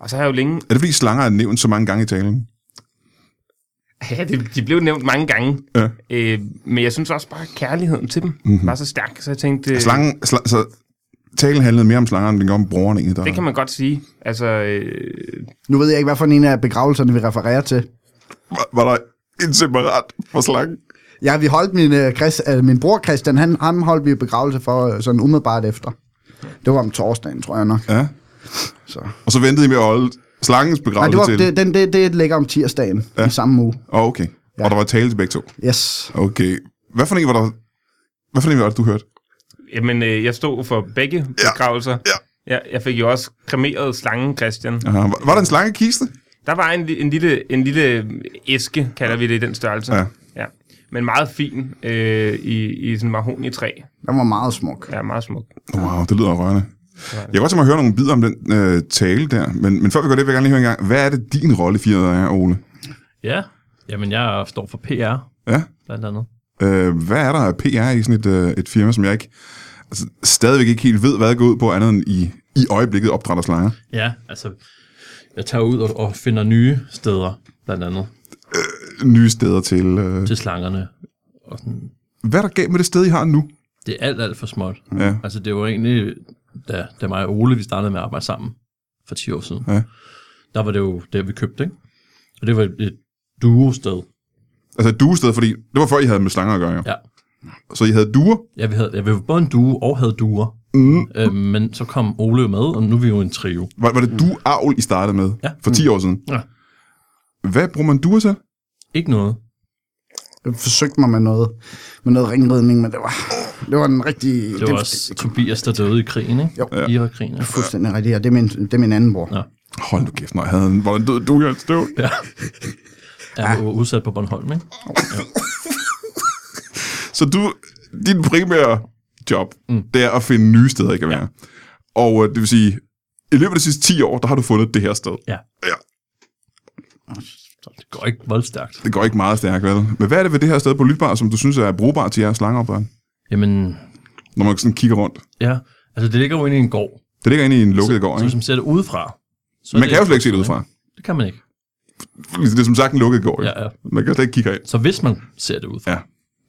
[SPEAKER 4] Og så har jeg jo længe...
[SPEAKER 1] Er det, fordi slanger er nævnt så mange gange i talen?
[SPEAKER 4] Ja, de, de blev nævnt mange gange.
[SPEAKER 1] Ja.
[SPEAKER 4] Øh, men jeg synes også bare, at kærligheden til dem mm-hmm. var så stærk, så jeg tænkte... øh,
[SPEAKER 1] Slangen, sl- så talen handlede mere om slangeren, end den gør om broren egentlig. Der.
[SPEAKER 4] Det kan man godt sige. Altså, øh,
[SPEAKER 3] Nu ved jeg ikke, hvad for en af begravelserne vi refererer til.
[SPEAKER 1] var, var der en separat for slangen?
[SPEAKER 3] Ja, vi holdt min, øh, Chris, øh, min bror Christian, han, ham holdt vi i begravelse for øh, sådan umiddelbart efter. Det var om torsdagen, tror jeg nok.
[SPEAKER 1] Ja.
[SPEAKER 3] Så.
[SPEAKER 1] Og så ventede I med at holde slangens
[SPEAKER 3] Nej, det,
[SPEAKER 1] begravelse
[SPEAKER 3] var,
[SPEAKER 1] til.
[SPEAKER 3] det, den, det, det ligger om tirsdagen ja. i samme uge.
[SPEAKER 1] Åh, okay. Og der var tale til begge to.
[SPEAKER 3] Yes.
[SPEAKER 1] Okay. Hvad for en var der... Hvad for en var det, du hørte?
[SPEAKER 4] jamen, øh, jeg stod for begge begravelser.
[SPEAKER 1] ja.
[SPEAKER 4] ja. Jeg fik jo også kremeret slangen, Christian.
[SPEAKER 1] Aha. Var, var der en slangekiste?
[SPEAKER 4] Der var en, li- en, lille, en lille æske, kalder vi det i den størrelse.
[SPEAKER 1] Ja.
[SPEAKER 4] ja. Men meget fin øh, i, i sådan mahoni træ.
[SPEAKER 3] Den var meget smuk.
[SPEAKER 4] Ja, meget smuk.
[SPEAKER 1] Wow, det lyder rørende. Jeg kunne godt tænke mig at høre nogle bidder om den øh, tale der, men, men før vi gør det, vil jeg gerne lige høre en gang, hvad er det din rolle i firet er, Ole?
[SPEAKER 2] Ja, jamen jeg står for PR,
[SPEAKER 1] Ja?
[SPEAKER 2] blandt andet.
[SPEAKER 1] Øh, hvad er der af PR i sådan et, øh, et firma, som jeg ikke altså, stadigvæk ikke helt ved, hvad det går ud på, andet end i, i øjeblikket opdrætter slanger?
[SPEAKER 2] Ja, altså, jeg tager ud og, og finder nye steder, blandt andet,
[SPEAKER 1] Nye steder til. Øh.
[SPEAKER 2] til slangerne. Og sådan,
[SPEAKER 1] Hvad er der galt med det sted, I har nu?
[SPEAKER 2] det er alt, alt for småt.
[SPEAKER 1] Ja.
[SPEAKER 2] Altså, det var egentlig, da, da mig og Ole, vi startede med at arbejde sammen for 10 år siden,
[SPEAKER 1] Ja.
[SPEAKER 2] der var det jo der, vi købte, ikke? Og det var et, et duo-sted.
[SPEAKER 1] Altså et duested, fordi det var før, I havde med slanger at gøre, jo.
[SPEAKER 2] Ja.
[SPEAKER 1] Så I havde duer?
[SPEAKER 2] Ja, vi havde, ja, vi var både en duo og havde duer. Mm. Øh, men så kom Ole jo med, og nu er vi jo en trio.
[SPEAKER 1] Var, var det dueavl, I startede med
[SPEAKER 2] Ja.
[SPEAKER 1] for 10 år siden?
[SPEAKER 2] Ja.
[SPEAKER 1] Hvad bruger man duer til?
[SPEAKER 2] Ikke noget.
[SPEAKER 3] Jeg forsøgte mig med noget, med noget ringridning, men det var, det var en rigtig...
[SPEAKER 2] Det var også Tobias, der døde i krigen, ikke?
[SPEAKER 3] Jo.
[SPEAKER 2] Ja. Irakkrigen, ja.
[SPEAKER 3] Fuldstændig rigtigt, og det er min, det er min anden bror.
[SPEAKER 2] Ja.
[SPEAKER 1] Hold nu kæft, når jeg havde en, hvor en død duer i et støvl.
[SPEAKER 2] Ja. Jeg var udsat på Bornholm, ikke?
[SPEAKER 1] Så du, din primære job, mm. det er at finde nye steder, I kan være. Ja. Og øh, det vil sige, i løbet af de sidste 10 år, der har du fundet det her sted.
[SPEAKER 2] Ja.
[SPEAKER 1] Ja.
[SPEAKER 2] Så det går ikke voldstærkt.
[SPEAKER 1] Det går ikke meget stærkt, vel? Men hvad er det ved det her sted på Lytbar, som du synes er brugbart til jeres slangeopdræt?
[SPEAKER 2] Jamen,
[SPEAKER 1] Når man sådan kigger rundt.
[SPEAKER 2] ja. Altså, det ligger jo inde i en gård.
[SPEAKER 1] Det ligger inde i en lukket gård,
[SPEAKER 2] Så hvis
[SPEAKER 1] ikke?
[SPEAKER 2] man ser det udefra... Så er
[SPEAKER 1] Man kan jo slet ikke se det
[SPEAKER 2] ikke?
[SPEAKER 1] udefra.
[SPEAKER 2] Det kan man ikke.
[SPEAKER 1] Det er som sagt en lukket gård, jo.
[SPEAKER 2] Ja, ja.
[SPEAKER 1] Man kan slet ikke kigge herind.
[SPEAKER 2] Så hvis man ser det udefra,
[SPEAKER 1] Ja.
[SPEAKER 2] ja.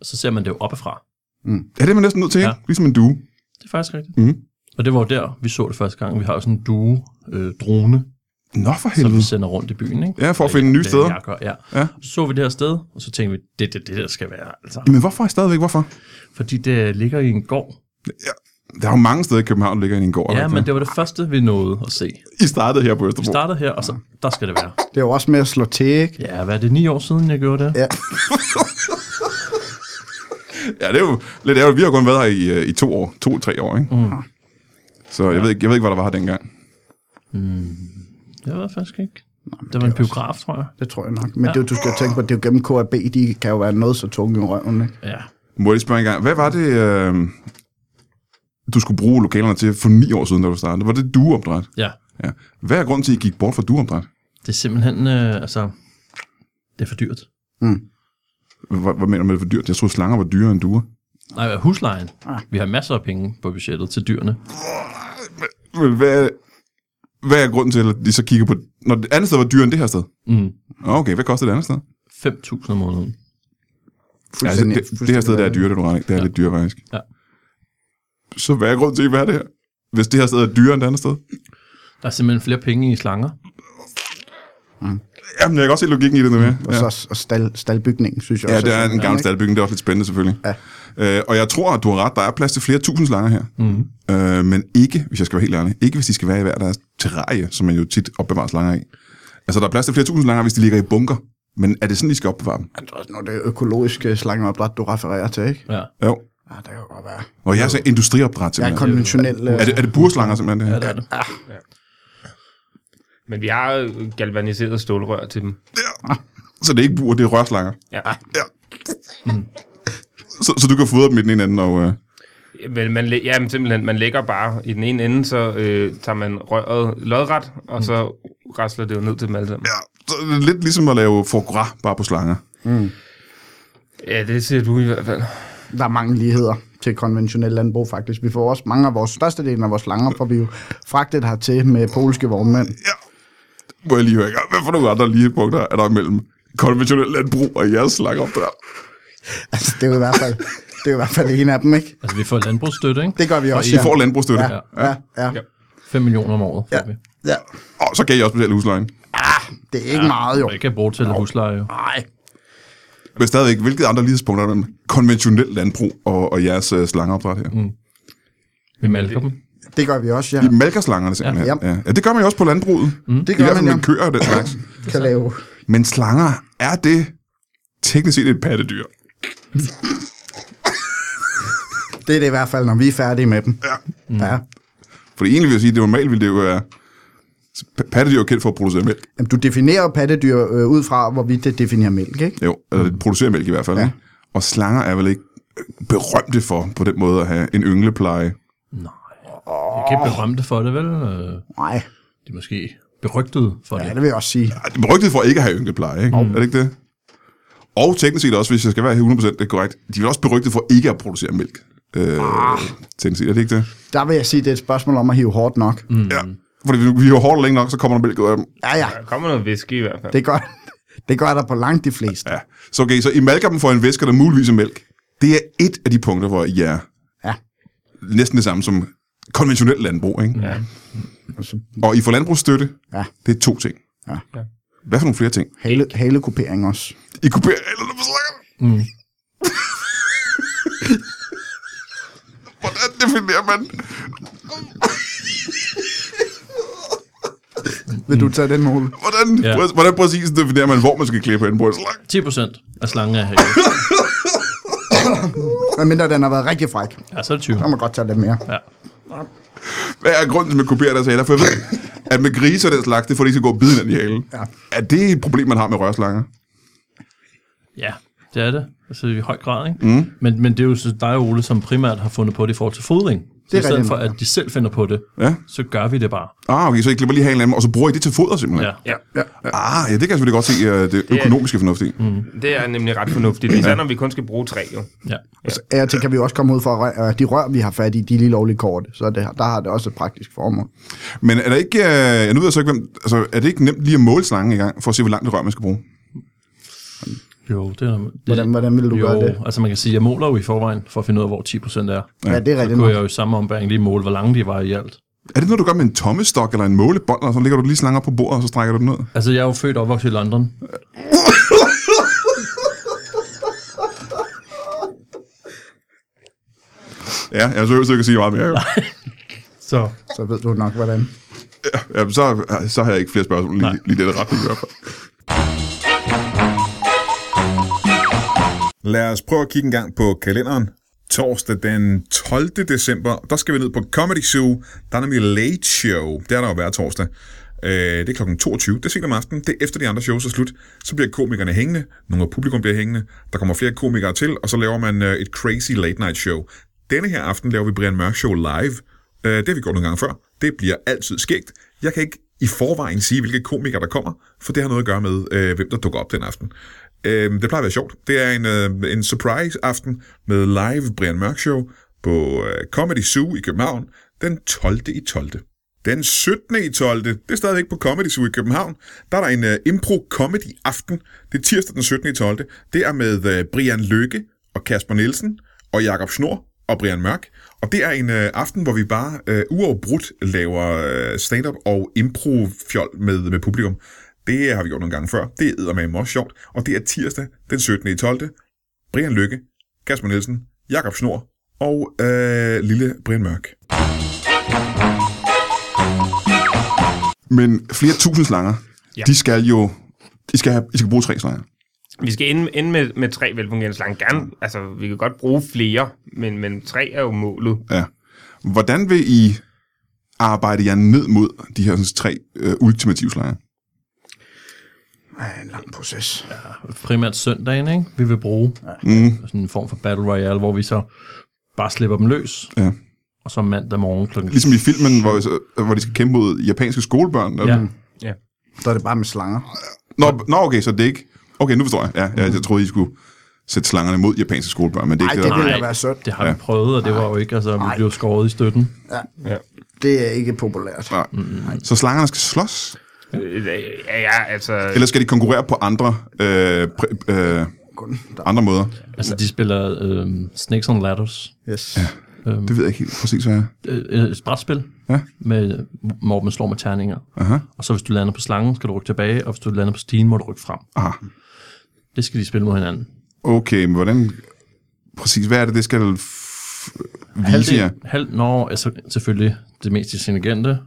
[SPEAKER 2] så ser man det jo oppefra.
[SPEAKER 1] Ja, det er man næsten nødt til, ikke? Ja.
[SPEAKER 2] Ja.
[SPEAKER 1] Ligesom en due.
[SPEAKER 2] Det er faktisk rigtigt.
[SPEAKER 1] Mhm.
[SPEAKER 2] Og det var jo der, vi så det første gang. Vi har jo sådan en øh, due-drone,
[SPEAKER 1] Nå for
[SPEAKER 2] som vi
[SPEAKER 1] helvede.
[SPEAKER 2] sender rundt i byen, ikke?
[SPEAKER 1] Ja, for at finde nye
[SPEAKER 2] Det er
[SPEAKER 1] steder.
[SPEAKER 2] Jeg gør, ja.
[SPEAKER 1] Ja.
[SPEAKER 2] ja. Så så vi det her sted, og så tænkte vi, det er det, det, der skal være. Altså.
[SPEAKER 1] Men hvorfor er stadigvæk? Hvorfor?
[SPEAKER 2] Fordi det ligger i en gård.
[SPEAKER 1] Der er jo mange steder i København, der ligger inde i en gård. er der
[SPEAKER 2] Ja,
[SPEAKER 1] ikke
[SPEAKER 2] men
[SPEAKER 1] det...
[SPEAKER 2] det var det første, vi nåede at se.
[SPEAKER 1] I startede her på
[SPEAKER 2] Vi
[SPEAKER 1] Østerbro.
[SPEAKER 2] startede her, og så der skal det være.
[SPEAKER 3] Det var også med at slå til, ikke?
[SPEAKER 2] Ja, hvad er det, ni år siden, jeg gjorde det?
[SPEAKER 3] Ja.
[SPEAKER 1] Ja, det er jo lidt ærgerligt. Vi har kun været her i, øh, i to år. To-tre år, ikke? Mm. Så jeg ved, ikke, jeg ved ikke, hvad der var her dengang.
[SPEAKER 2] Jeg ved faktisk ikke. Det var en biograf, tror jeg.
[SPEAKER 3] Det tror jeg nok. Men ja. det, du skal jo tænke på, det er jo gennem KAB, de kan jo være noget så tunge i røven, ikke?
[SPEAKER 2] Ja.
[SPEAKER 1] Må jeg lige spørge en gang. Hvad var det... Øh... du skulle bruge lokalerne til for ni år siden, da du startede. Var det dueopdræt?
[SPEAKER 2] Ja,
[SPEAKER 1] Ja. Hvad er grunden til, at I gik bort fra dueopdræt?
[SPEAKER 2] det er simpelthen, øh, altså, det er for dyrt.
[SPEAKER 1] Hvad, hvad mener du med det for dyrt? Jeg troede, slanger var dyrere end duer.
[SPEAKER 2] Nej, huslejen.
[SPEAKER 1] Ah.
[SPEAKER 2] Vi har masser af penge på budgettet til dyrene.
[SPEAKER 1] Men hvad, hvad er grunden til, at I så kigger på... Når det andet sted var dyrere end det her sted?
[SPEAKER 2] Mm.
[SPEAKER 1] Nå, Okay, hvad koster det andet sted?
[SPEAKER 2] 5.000 om måneden.
[SPEAKER 1] Ja, altså, det, det her sted, der er dyrt, det er du ret i. Det er ja.
[SPEAKER 2] Ja.
[SPEAKER 1] lidt dyrt, faktisk.
[SPEAKER 2] Ja.
[SPEAKER 1] Så hvad er grunden til, at I vil have det her? Hvis det her sted er dyrere end det andet sted?
[SPEAKER 2] Der er simpelthen flere penge i slanger.
[SPEAKER 1] Jamen, jeg kan også se logikken i det nu, ja.
[SPEAKER 3] Og, så, og stal, staldbygningen, synes jeg
[SPEAKER 1] Ja,
[SPEAKER 3] også.
[SPEAKER 1] det er en gammel staldbygning. Det er også lidt spændende, selvfølgelig.
[SPEAKER 3] Ja.
[SPEAKER 1] Øh, og jeg tror, at du har ret. Der er plads til flere tusind slanger her. Mm. Øh, men ikke, hvis jeg skal være helt ærlig, ikke hvis de skal være i hver deres terrarie, som man jo tit opbevarer slanger i. Altså, der er plads til flere tusind slanger, hvis de ligger i bunker. Men er det sådan, de skal opbevare dem?
[SPEAKER 3] Det er også noget af det økologiske slangeopdræt, du refererer til, ikke?
[SPEAKER 2] Ja.
[SPEAKER 1] Jo.
[SPEAKER 3] Ja, det kan jo godt være.
[SPEAKER 1] Og jeg er så industriopdræt,
[SPEAKER 3] Jeg er
[SPEAKER 1] simpelthen.
[SPEAKER 3] konventionel... øh,
[SPEAKER 1] Er det, er det burslanger, simpelthen, det her?
[SPEAKER 2] Ja, det er det.
[SPEAKER 4] Men vi har jo galvaniseret stålrør til dem.
[SPEAKER 1] Ja. Så det er ikke bur, det er rørslanger.
[SPEAKER 4] Ja.
[SPEAKER 1] Så, så du kan fodre dem i den ene ende, og... Øh,
[SPEAKER 4] Men man, læ- ja, men simpelthen, man lægger bare i den ene ende, så øh, tager man røret lodret, og så rasler det jo ned til dem alle sammen.
[SPEAKER 1] Mm. ja. Så det er lidt ligesom at lave foie gras, bare på slanger.
[SPEAKER 4] Ja, det siger du i hvert fald.
[SPEAKER 3] der er mange ligheder til konventionel landbrug, faktisk. Vi får også mange af vores største delen af vores slanger, for vi jo fragtet hertil med polske vognmænd.
[SPEAKER 1] Må jeg lige høre, i gang, hvad for nogle andre ligepunkter er der mellem konventionel landbrug og jeres slangeopdræt?
[SPEAKER 3] Altså, det er jo i hvert fald, det er jo i hvert fald en af dem, ikke?
[SPEAKER 2] Altså, vi får landbrugsstøtte, ikke?
[SPEAKER 3] Det gør vi
[SPEAKER 2] Og I
[SPEAKER 3] også,
[SPEAKER 1] I får landbrugsstøtte, ja.
[SPEAKER 3] Ja, ja, ja.
[SPEAKER 4] Ja.
[SPEAKER 2] 5 millioner om året får
[SPEAKER 3] Ja.
[SPEAKER 2] vi.
[SPEAKER 3] ja.
[SPEAKER 1] og så kan I også betale huslejen.
[SPEAKER 3] Det er ikke meget, jo.
[SPEAKER 2] Og jeg kan bruge til husleje, jo.
[SPEAKER 3] Nej.
[SPEAKER 1] Men stadigvæk, hvilke andre lighedspunkter er der mellem konventionel landbrug og, og jeres øh, slangeopdræt her? Mm.
[SPEAKER 2] Vi malker dem.
[SPEAKER 3] Det gør vi også, ja.
[SPEAKER 1] I malker slangerne simpelthen. Ja.
[SPEAKER 3] Ja.
[SPEAKER 1] Ja. ja. det gør man jo også på landbruget. Mm.
[SPEAKER 3] Det
[SPEAKER 1] I
[SPEAKER 3] gør
[SPEAKER 1] hvert
[SPEAKER 3] man,
[SPEAKER 1] fald
[SPEAKER 3] ja.
[SPEAKER 1] med køer og den slags.
[SPEAKER 3] Kan lave.
[SPEAKER 1] Men slanger, er det teknisk set et pattedyr?
[SPEAKER 3] Det er det i hvert fald, når vi er færdige med dem. Ja. ja.
[SPEAKER 1] Fordi egentlig vil jeg sige, at det normalt ville det jo være... pa- Pattedyr er jo kendt for at producere mælk.
[SPEAKER 3] Jamen, du definerer pattedyr øh, ud fra, hvorvidt det definerer mælk, ikke?
[SPEAKER 1] Jo, eller mm. producerer mælk i hvert fald. Ja.
[SPEAKER 3] Ja.
[SPEAKER 1] Og slanger er vel ikke berømte for på den måde at have en ynglepleje.
[SPEAKER 2] Jeg kan ikke berømme det for det, vel? Øh,
[SPEAKER 3] Nej,
[SPEAKER 2] De er måske berygtede for
[SPEAKER 3] ja,
[SPEAKER 2] det.
[SPEAKER 3] det vil jeg også sige.
[SPEAKER 1] Ej, det er berygtet for ikke at have ynglepleje, ikke? Mm. Er det ikke det? Og teknisk set også, hvis jeg skal være 100% det er korrekt, de er også berygtet for ikke at producere mælk. Øh, teknisk set, er det ikke det?
[SPEAKER 3] Der vil jeg sige, det er et spørgsmål om at hive hårdt nok.
[SPEAKER 1] Mm. Ja. Fordi hvis vi har hårdt længe nok, så kommer der mælk ud af dem.
[SPEAKER 3] Ja, ja.
[SPEAKER 4] Der kommer noget væske i hvert fald.
[SPEAKER 3] Det gør, det gør der på langt de fleste.
[SPEAKER 1] Ja. Så okay, så I malker dem for en væske, der muligvis er mælk. Det er et af de punkter, hvor I er
[SPEAKER 3] Ja.
[SPEAKER 1] næsten det samme som konventionel landbrug, ikke?
[SPEAKER 4] Ja.
[SPEAKER 1] Og I får landbrugsstøtte.
[SPEAKER 3] Ja.
[SPEAKER 1] Det er to ting.
[SPEAKER 3] Ja.
[SPEAKER 4] Ja.
[SPEAKER 1] Hvad for nogle flere ting?
[SPEAKER 3] Hale, halekupering også.
[SPEAKER 1] I kopierer reglerne for slanger.
[SPEAKER 2] Mm.
[SPEAKER 1] Hvordan definerer man?
[SPEAKER 3] Vil du tage den, Ole?
[SPEAKER 1] Hvordan, ja.
[SPEAKER 2] Ja.
[SPEAKER 1] hvordan præcis definerer man, hvor man skal klippe hen på en slang?
[SPEAKER 2] 10 procent af slangen er have.
[SPEAKER 3] Hvad mindre den har været rigtig fræk.
[SPEAKER 2] Ja, så er det 20.
[SPEAKER 3] Så må man godt tage lidt mere.
[SPEAKER 2] Ja.
[SPEAKER 1] Hvad er grunden til, at man kopierer deres haler? For jeg ved, at med grise og den slags, det er for, at de ikke skal gå og bide hinanden i halen.
[SPEAKER 3] Ja.
[SPEAKER 1] Er det et problem, man har med rørslanger?
[SPEAKER 2] ja, det er det. Altså i høj grad, ikke? Mm. Men, men det er jo så dig, Ole, som primært har fundet på det i forhold til fodring. Så
[SPEAKER 3] er
[SPEAKER 2] i stedet
[SPEAKER 3] rigtigt.
[SPEAKER 2] for, at de selv finder på det,
[SPEAKER 1] Ja.
[SPEAKER 2] så gør vi det bare.
[SPEAKER 1] Ah, okay, så I klipper lige halen af dem, og så bruger I det til foder simpelthen?
[SPEAKER 2] Ja.
[SPEAKER 4] Ja.
[SPEAKER 1] Ah, ja, det kan jeg selvfølgelig godt se, øh, det økonomiske fornuft i. Mm.
[SPEAKER 4] Det er nemlig ret fornuftigt, især når vi kun skal bruge træ, jo.
[SPEAKER 2] ja.
[SPEAKER 3] Altså, af og til kan vi også komme ud for, at rør- at de rør, vi har fat i, de er lige lovligt korte. Så det, der har det også et praktisk formål.
[SPEAKER 1] Men er, der ikke, øh, jeg nu ved jeg så ikke, hvem, altså, er det ikke nemt lige at måle slangen i gang, for at se, hvor langt det rør, man skal bruge?
[SPEAKER 2] Jo, det er... Det,
[SPEAKER 3] Hvordan, hvordan vil du
[SPEAKER 2] jo,
[SPEAKER 3] gøre det?
[SPEAKER 2] altså man kan sige, jeg måler jo i forvejen for at finde ud af, hvor 10 procent er.
[SPEAKER 3] Ja, det er
[SPEAKER 2] Så
[SPEAKER 3] rigtigt.
[SPEAKER 2] kunne
[SPEAKER 3] nok.
[SPEAKER 2] jeg jo i samme ombæring lige måle, hvor lange de var i alt.
[SPEAKER 1] Er det noget, du gør med en tommestok eller en målebånd, og så lægger du lige slangen op på bordet, og så strækker du den ud?
[SPEAKER 2] Altså, jeg er jo født og opvokset i London.
[SPEAKER 1] Ja, jeg er seriøst, jeg kan sige meget mere. jo.
[SPEAKER 2] Så
[SPEAKER 3] Så ved du nok, hvordan.
[SPEAKER 1] Ja, så, så har jeg ikke flere spørgsmål lige,
[SPEAKER 2] Nej.
[SPEAKER 1] lige i den retning i hvert fald.
[SPEAKER 5] Lad os prøve at kigge en gang på kalenderen. Torsdag den 12. december, der skal vi ned på Comedy Zoo. Der er nemlig Late Show. Det er der jo hver torsdag. Øh, Det er kl. 22. Det er sent om aftenen. Det er efter de andre shows er slut. Så bliver komikerne hængende. Nogle af publikum bliver hængende. Der kommer flere komikere til, og så laver man øh, et crazy late night show. Denne her aften laver vi Brian Mørk Show live. Øh, det har vi gjort nogle gange før. Det bliver altid skægt. Jeg kan ikke i forvejen sige, hvilke komikere der kommer, for det har noget at gøre med, øh, hvem der dukker op den aften. Øh, det plejer at være sjovt. Det er en, øh, en surprise-aften med live Brian Mørk Show på øh, Comedy Zoo i København den 12. i 12. Den 17. i 12. Det er stadigvæk på Comedy Zoo i København. Der er der en uh, impro-comedy-aften. Det er tirsdag den 17. i 12. Det er med uh, Brian Løkke og Kasper Nielsen og Jakob Snor og Brian Mørk. Og det er en uh, aften, hvor vi bare uh, uafbrudt laver uh, stand-up og impro-fjol med, med publikum. Det har vi gjort nogle gange før. Det er med også sjovt. Og det er tirsdag den 17. i 12. Brian Løkke, Kasper Nielsen, Jakob Snor og øh, lille Brian Mørk.
[SPEAKER 1] Men flere tusind slanger, ja.
[SPEAKER 4] Ja.
[SPEAKER 1] de skal jo... I skal, have, I skal bruge tre slanger.
[SPEAKER 4] Vi skal ende, ende med, med tre velfungerende slange. Gerne, altså, vi kan godt bruge flere, men, men tre er jo målet.
[SPEAKER 1] Ja. Hvordan vil I arbejde jer ned mod de her sådan, tre øh, ultimative slanger?
[SPEAKER 3] Ej, en lang proces. Ja.
[SPEAKER 2] primært søndagen, ikke? vi vil bruge. Mm. Sådan en form for Battle Royale, hvor vi så bare slipper dem løs,
[SPEAKER 1] Ja.
[SPEAKER 2] og så mandag morgen klokken...
[SPEAKER 1] Ligesom i filmen, hvor, øh, hvor de skal kæmpe mod japanske skolebørn.
[SPEAKER 2] Ja,
[SPEAKER 1] Eller?
[SPEAKER 3] Der er det bare med slanger.
[SPEAKER 1] Nå, nå, okay, så det er ikke... Okay, nu forstår jeg. Ja, jeg, jeg troede, I skulle sætte slangerne mod japanske skolebørn, men det er
[SPEAKER 3] Ej,
[SPEAKER 1] ikke
[SPEAKER 3] det
[SPEAKER 1] der-
[SPEAKER 3] ville
[SPEAKER 2] Nej.
[SPEAKER 3] da være sødt.
[SPEAKER 2] det har vi prøvet, og det var jo ikke, altså vi blev skåret i støtten.
[SPEAKER 3] Det er ikke populært.
[SPEAKER 1] Nej. Så slangerne skal slås?
[SPEAKER 4] Øh, Ja, ja, altså...
[SPEAKER 1] Eller skal de konkurrere på andre, øh, præ- øh,
[SPEAKER 3] Kun der.
[SPEAKER 1] andre måder?
[SPEAKER 2] Altså de spiller øh, Snakes on Ladders,
[SPEAKER 3] Yes.
[SPEAKER 1] Det ved jeg ikke helt præcis, hvad jeg er.
[SPEAKER 2] øh, et brætspil,
[SPEAKER 1] Ja.
[SPEAKER 2] med, hvor man slår med terninger.
[SPEAKER 1] Aha.
[SPEAKER 2] Og så hvis du lander på slangen, skal du rykke tilbage, og hvis du lander på stigen, må du rykke frem.
[SPEAKER 1] Aha.
[SPEAKER 2] Det skal de spille mod hinanden.
[SPEAKER 1] Ah, Okay, men hvordan... Præcis, hvad er det, det skal f- vise jer?
[SPEAKER 2] halv, nå, altså selvfølgelig det mest intelligente,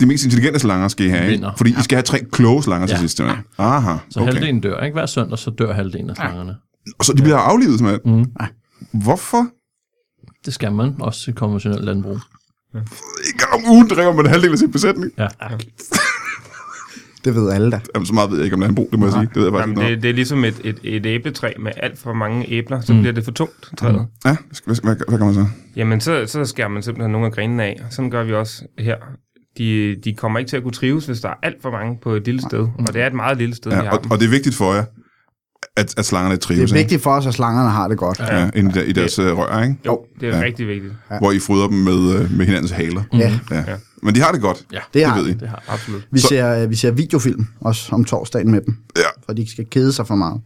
[SPEAKER 1] De mest intelligente slanger skal I have, ikke?
[SPEAKER 2] Vinder.
[SPEAKER 1] Fordi I skal have tre kloge slanger til
[SPEAKER 2] Ja.
[SPEAKER 1] sidst. simpelthen. Aha,
[SPEAKER 2] Så okay.
[SPEAKER 1] okay.
[SPEAKER 2] halvdelen dør, ikke? Hver søndag, så dør halvdelen af slangerne.
[SPEAKER 1] Og så de bliver aflivet, simpelthen? Hvorfor?
[SPEAKER 2] Det skal man, også i konventionelt landbrug.
[SPEAKER 1] En gang om ugen drikker man halvdelen af sin besætning.
[SPEAKER 2] Ja.
[SPEAKER 3] Det ved alle da.
[SPEAKER 1] Jamen, så meget ved jeg ikke om landbrug, det må jeg sige. Det ved jeg faktisk
[SPEAKER 4] Jamen,
[SPEAKER 1] ikke noget.
[SPEAKER 4] det, det er ligesom et, et, et æbletræ med alt for mange æbler, så mm. bliver det for tungt træet. Mm.
[SPEAKER 1] Ja, hvad, skal- hvad, hvad gør man så?
[SPEAKER 4] Jamen, så, så skærer man simpelthen nogle af grenene af, og sådan gør vi også her. De, de kommer ikke til at kunne trives, hvis der er alt for mange på et lille sted, og det er et meget lille sted, ja, vi
[SPEAKER 1] Ja,
[SPEAKER 4] har
[SPEAKER 1] og,
[SPEAKER 4] dem.
[SPEAKER 1] og det er vigtigt for jer, at, at slangerne
[SPEAKER 3] Det
[SPEAKER 1] trives,
[SPEAKER 3] er vigtigt for os, at slangerne har det godt.
[SPEAKER 1] ikke? Ja, inde i, der- i deres øh, rør, ikke?
[SPEAKER 4] Jo, det er
[SPEAKER 1] Ja.
[SPEAKER 4] ja. rigtig vigtigt,
[SPEAKER 1] Hvor I fodrer dem med, øh, med hinandens haler.
[SPEAKER 3] Ja.
[SPEAKER 1] Ja. Men de har Mm. det godt.
[SPEAKER 2] Ja,
[SPEAKER 3] Det har
[SPEAKER 1] ved I.
[SPEAKER 2] det har
[SPEAKER 4] absolut.
[SPEAKER 3] Vi ser, øh, vi ser videofilm også om torsdagen med dem,
[SPEAKER 1] Ja.
[SPEAKER 3] for de ikke skal kede sig for meget.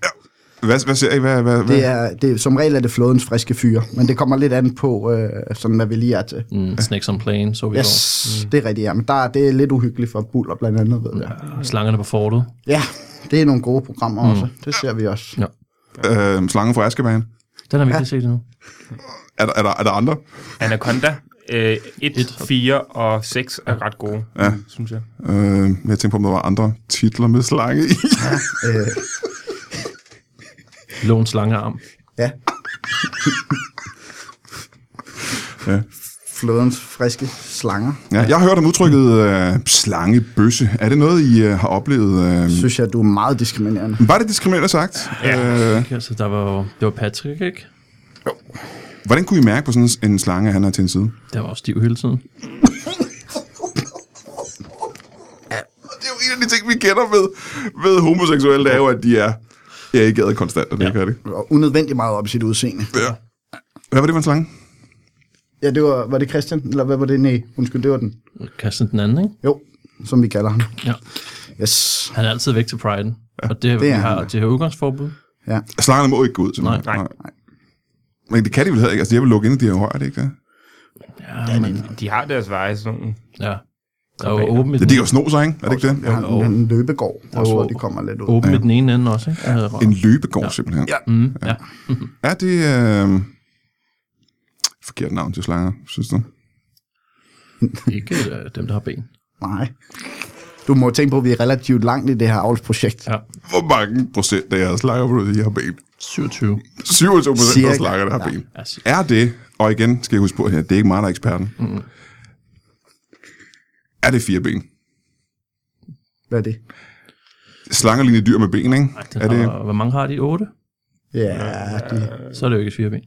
[SPEAKER 1] Hvad, hvad ser I? Hvad, hvad,
[SPEAKER 3] Det
[SPEAKER 1] hvad?
[SPEAKER 3] er, det, er- som regel er det flådens friske fyre, men det kommer lidt an på, øh, sådan, hvad vi lige er til.
[SPEAKER 2] mm, Snakes on Plane, så vi
[SPEAKER 3] Yes,
[SPEAKER 2] yes.
[SPEAKER 3] det er rigtigt. Ja. Men der, er- det er lidt uhyggeligt for Buller blandt andet, ved jeg.
[SPEAKER 2] Slangerne på fortet.
[SPEAKER 3] Ja, det er nogle gode programmer
[SPEAKER 2] Mm.
[SPEAKER 3] også. Det ser vi også.
[SPEAKER 1] Øh, slangen fra Askebanen.
[SPEAKER 2] Den har vi ikke set endnu.
[SPEAKER 1] Er der, er, der, er der andre?
[SPEAKER 4] Anaconda, 1,
[SPEAKER 2] Et.
[SPEAKER 4] 4 og 6 er ret gode, ja. synes jeg.
[SPEAKER 1] Øh, jeg tænkte på, om der var andre titler med slange i.
[SPEAKER 3] Øh,
[SPEAKER 2] Lån slangearm.
[SPEAKER 3] ja.
[SPEAKER 1] Ja.
[SPEAKER 3] Flådens friske slanger,
[SPEAKER 2] Mm.
[SPEAKER 1] Ja, jeg har hørt om udtrykket øh, slangebøsse. Er det noget, I øh, har oplevet? Øh,
[SPEAKER 3] synes jeg, du er meget diskriminerende.
[SPEAKER 1] var det diskriminerende sagt?
[SPEAKER 4] Ja.
[SPEAKER 1] Øh,
[SPEAKER 2] Ikke? Altså, der var, jo- det var Patrick, ikke?
[SPEAKER 1] hvordan kunne I mærke på sådan en slange, at han har til en side?
[SPEAKER 2] Der var også stiv hele tiden.
[SPEAKER 1] Det er jo en af de ting, vi kender ved, ved homoseksuelle, det er jo, at de er ja, ikke ad konstant, og det ja. gør det.
[SPEAKER 3] Og unødvendigt meget op i sit udseende.
[SPEAKER 1] Ja. Hvad var det for en slange?
[SPEAKER 3] Ja, det var, var det Christian? Eller hvad var det? Nej, undskyld, det var den.
[SPEAKER 2] Kasten den anden, ikke?
[SPEAKER 3] Jo, som vi kalder ham.
[SPEAKER 2] Ja.
[SPEAKER 3] Yes.
[SPEAKER 2] Han er altid væk til Pride'en. Og det, det vi
[SPEAKER 3] er
[SPEAKER 2] har,
[SPEAKER 3] han.
[SPEAKER 2] det her udgangsforbud.
[SPEAKER 3] Ja.
[SPEAKER 1] Slangerne må ikke gå ud, simpelthen.
[SPEAKER 4] Nej.
[SPEAKER 1] Men det kan de vel heller ikke. Altså, de har vel lukket ind i de her rør, er det ikke det?
[SPEAKER 2] Ja, men,
[SPEAKER 4] De har deres veje, sådan nogle.
[SPEAKER 2] ja. Der er jo åben i
[SPEAKER 1] Ja,
[SPEAKER 2] den,
[SPEAKER 1] de kan jo sno sig, ikke? Er det ikke det?
[SPEAKER 3] Jeg har en, en løbegård, også, hvor de kommer lidt ud.
[SPEAKER 2] åben i den ene ende også, ikke? Altså, Ja.
[SPEAKER 1] En løbegård, ja. simpelthen. Ja.
[SPEAKER 2] Mm, ja.
[SPEAKER 1] Er det... Øh... Forkert navn til slanger, synes du?
[SPEAKER 2] Ikke øh, dem, der har ben.
[SPEAKER 3] Nej. Du må tænke på, at vi er relativt langt i det her avlsprojekt.
[SPEAKER 2] Ja.
[SPEAKER 1] Hvor mange procent af jeres slanger, vil du sige, har ben?
[SPEAKER 2] 27.
[SPEAKER 1] 27 procent af
[SPEAKER 3] Cirka.
[SPEAKER 1] slanger, der har ben.
[SPEAKER 2] Altså,
[SPEAKER 1] Er det, og igen skal jeg huske på her, det er ikke mig, der er eksperten. Mm. Er det fire ben?
[SPEAKER 3] Hvad er det?
[SPEAKER 1] Slanger ligner dyr med ben, ikke?
[SPEAKER 2] den
[SPEAKER 1] Er det,
[SPEAKER 2] har, hvor mange har de? 8?
[SPEAKER 3] Ja, de,
[SPEAKER 2] Så er det jo ikke et fireben.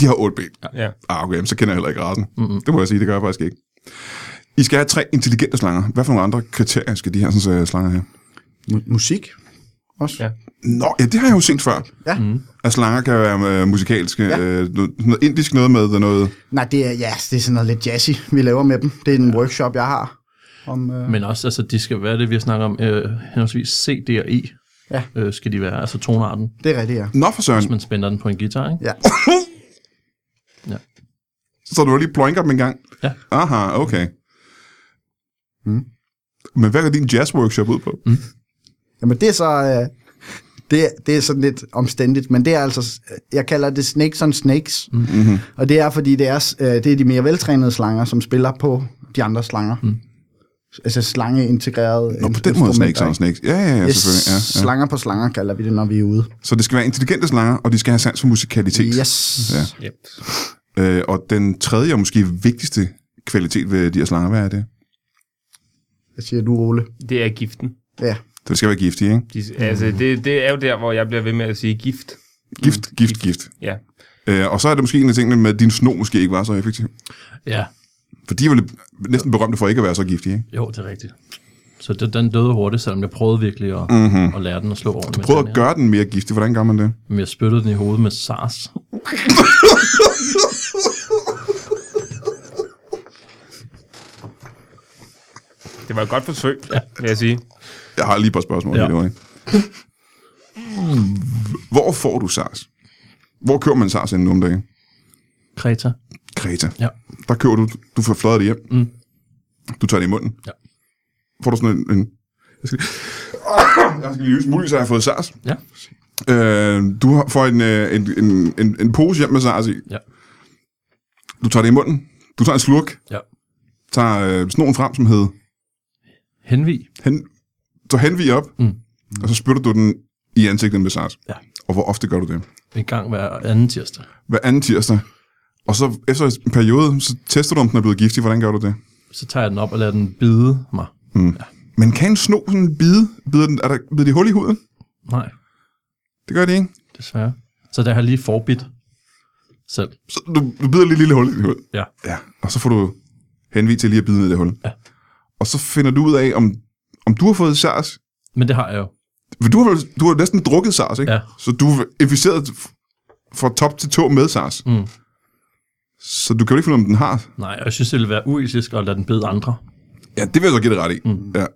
[SPEAKER 1] De har 8 ben.
[SPEAKER 4] Ja.
[SPEAKER 1] Ah, okay, jamen, så kender jeg heller ikke rasen. Mm-hmm. Det må jeg sige, det gør jeg faktisk ikke. I skal have tre intelligente slanger. Hvad for nogle andre kriterier skal de her sådan, så, slanger have?
[SPEAKER 3] mu- musik også.
[SPEAKER 4] Ja.
[SPEAKER 1] Nå, ja, det har jeg jo set før.
[SPEAKER 3] Ja. Mm.
[SPEAKER 1] At slanger kan være øh, musikalske. Ja. Øh, noget, noget indisk noget med noget...
[SPEAKER 3] Nej, det er, ja, det er sådan noget lidt jazzy, vi laver med dem. Det er en workshop, jeg har. Om, øh,
[SPEAKER 2] Men også, altså, de skal være det, vi snakker om, øh, henholdsvis C, D og E,
[SPEAKER 3] Ja.
[SPEAKER 2] øh, skal de være. Altså tonarten,
[SPEAKER 3] det er rigtigt, ja.
[SPEAKER 1] Nå for søren,
[SPEAKER 2] hvis man spænder den på en guitar, ikke?
[SPEAKER 3] ja.
[SPEAKER 1] så du var lige ploinker dem en gang.
[SPEAKER 2] Ja.
[SPEAKER 1] Aha, okay. Mm. Men hvad går din jazzworkshop ud på? Mm.
[SPEAKER 3] Jamen det er så... Øh, det, det er sådan lidt omstændigt, men det er altså, jeg kalder det snakes on snakes, mm-hmm. og det er fordi, det er, øh, det er de mere veltrænede slanger, som spiller på de andre slanger. Mm. Altså slange-integrerede
[SPEAKER 1] Nå, på den måde snakes on snakes. Ja, ja, ja,
[SPEAKER 3] Yes,
[SPEAKER 1] selvfølgelig. Ja, ja.
[SPEAKER 3] Slanger på slanger kalder vi det, når vi er ude.
[SPEAKER 1] Så det skal være intelligente slanger, og de skal have sans for musikalitet.
[SPEAKER 3] Yes.
[SPEAKER 1] Ja.
[SPEAKER 3] Ja.
[SPEAKER 4] Yep.
[SPEAKER 1] Øh, og den tredje og måske vigtigste kvalitet ved de her slanger, hvad er det?
[SPEAKER 3] Hvad siger du, Ole?
[SPEAKER 4] Det er giften.
[SPEAKER 3] Ja.
[SPEAKER 1] Det skal være giftige, ikke?
[SPEAKER 4] De, altså, det, det er jo der, hvor jeg bliver ved med at sige gift.
[SPEAKER 1] Gift, mm. gift, gift.
[SPEAKER 4] Ja.
[SPEAKER 1] Øh, og så er det måske en af tingene med, at din sno måske ikke var så effektiv.
[SPEAKER 2] Ja,
[SPEAKER 1] For de er vel næsten berømte for ikke at være så giftige, ikke?
[SPEAKER 2] jo, det er rigtigt. Så det, den døde hurtigt, selvom jeg prøvede virkelig at, mm-hmm. at lære den at slå ordentligt. med
[SPEAKER 1] Prøv at
[SPEAKER 2] den her.
[SPEAKER 1] gøre den mere giftig. Hvordan gør man det?
[SPEAKER 2] Men jeg spyttede den i hovedet med SARS.
[SPEAKER 4] Det var et godt forsøg, ja. vil jeg sige.
[SPEAKER 1] Jeg har lige et par spørgsmål.
[SPEAKER 2] Ja.
[SPEAKER 1] Ja. Det, Hvor får du SARS? Hvor kører man SARS inden nogle dage?
[SPEAKER 2] Kreta.
[SPEAKER 1] Kreta.
[SPEAKER 2] Ja.
[SPEAKER 1] Der kører du, du får fløjet det hjem.
[SPEAKER 2] Mm.
[SPEAKER 1] Du tager det i munden.
[SPEAKER 2] Ja.
[SPEAKER 1] Får du sådan en... en jeg skal, jeg skal lige lyse muligvis, at jeg har fået SARS.
[SPEAKER 2] Ja.
[SPEAKER 1] Øh, du har- får en, øh, en, en, en, en pose hjem med SARS i.
[SPEAKER 2] Ja.
[SPEAKER 1] Du tager det i munden. Du tager en slurk.
[SPEAKER 2] Ja.
[SPEAKER 1] Tager øh, snoren frem, som hed...
[SPEAKER 2] Henvig.
[SPEAKER 1] Hen, så henvig op.
[SPEAKER 2] Mm.
[SPEAKER 1] Og så spytter du den i ansigtet med SARS.
[SPEAKER 2] Ja.
[SPEAKER 1] Og hvor ofte gør du det?
[SPEAKER 2] En gang hver anden tirsdag.
[SPEAKER 1] Hver anden tirsdag. Og så efter en periode, så tester du, om den er blevet giftig. Hvordan gør du det?
[SPEAKER 2] Så tager jeg den op og lader den bide mig.
[SPEAKER 1] Men kan en sno sådan bide? Bider den, er der bider de hul i huden?
[SPEAKER 2] Nej,
[SPEAKER 1] Det gør de ikke.
[SPEAKER 2] desværre. Så der har jeg lige forbidt selv.
[SPEAKER 1] Så du, du bider lige et lille hul i dit hul.
[SPEAKER 2] Ja.
[SPEAKER 1] Ja, og så får du henvist til lige at bide ned i det hul.
[SPEAKER 2] Ja.
[SPEAKER 1] Og så finder du ud af, om, om du har fået SARS.
[SPEAKER 2] Men det har jeg jo.
[SPEAKER 1] Men du har, vel- du har næsten drukket SARS, ikke?
[SPEAKER 2] Ja.
[SPEAKER 1] Så du er inficeret f- fra top til tå med SARS.
[SPEAKER 2] Mm.
[SPEAKER 1] Så du kan jo ikke finde ud af, om den har.
[SPEAKER 2] Nej, og jeg synes, det ville være uetisk at lade den bide andre.
[SPEAKER 1] Ja, det vil jeg så give dig ret i. Mm. Ja.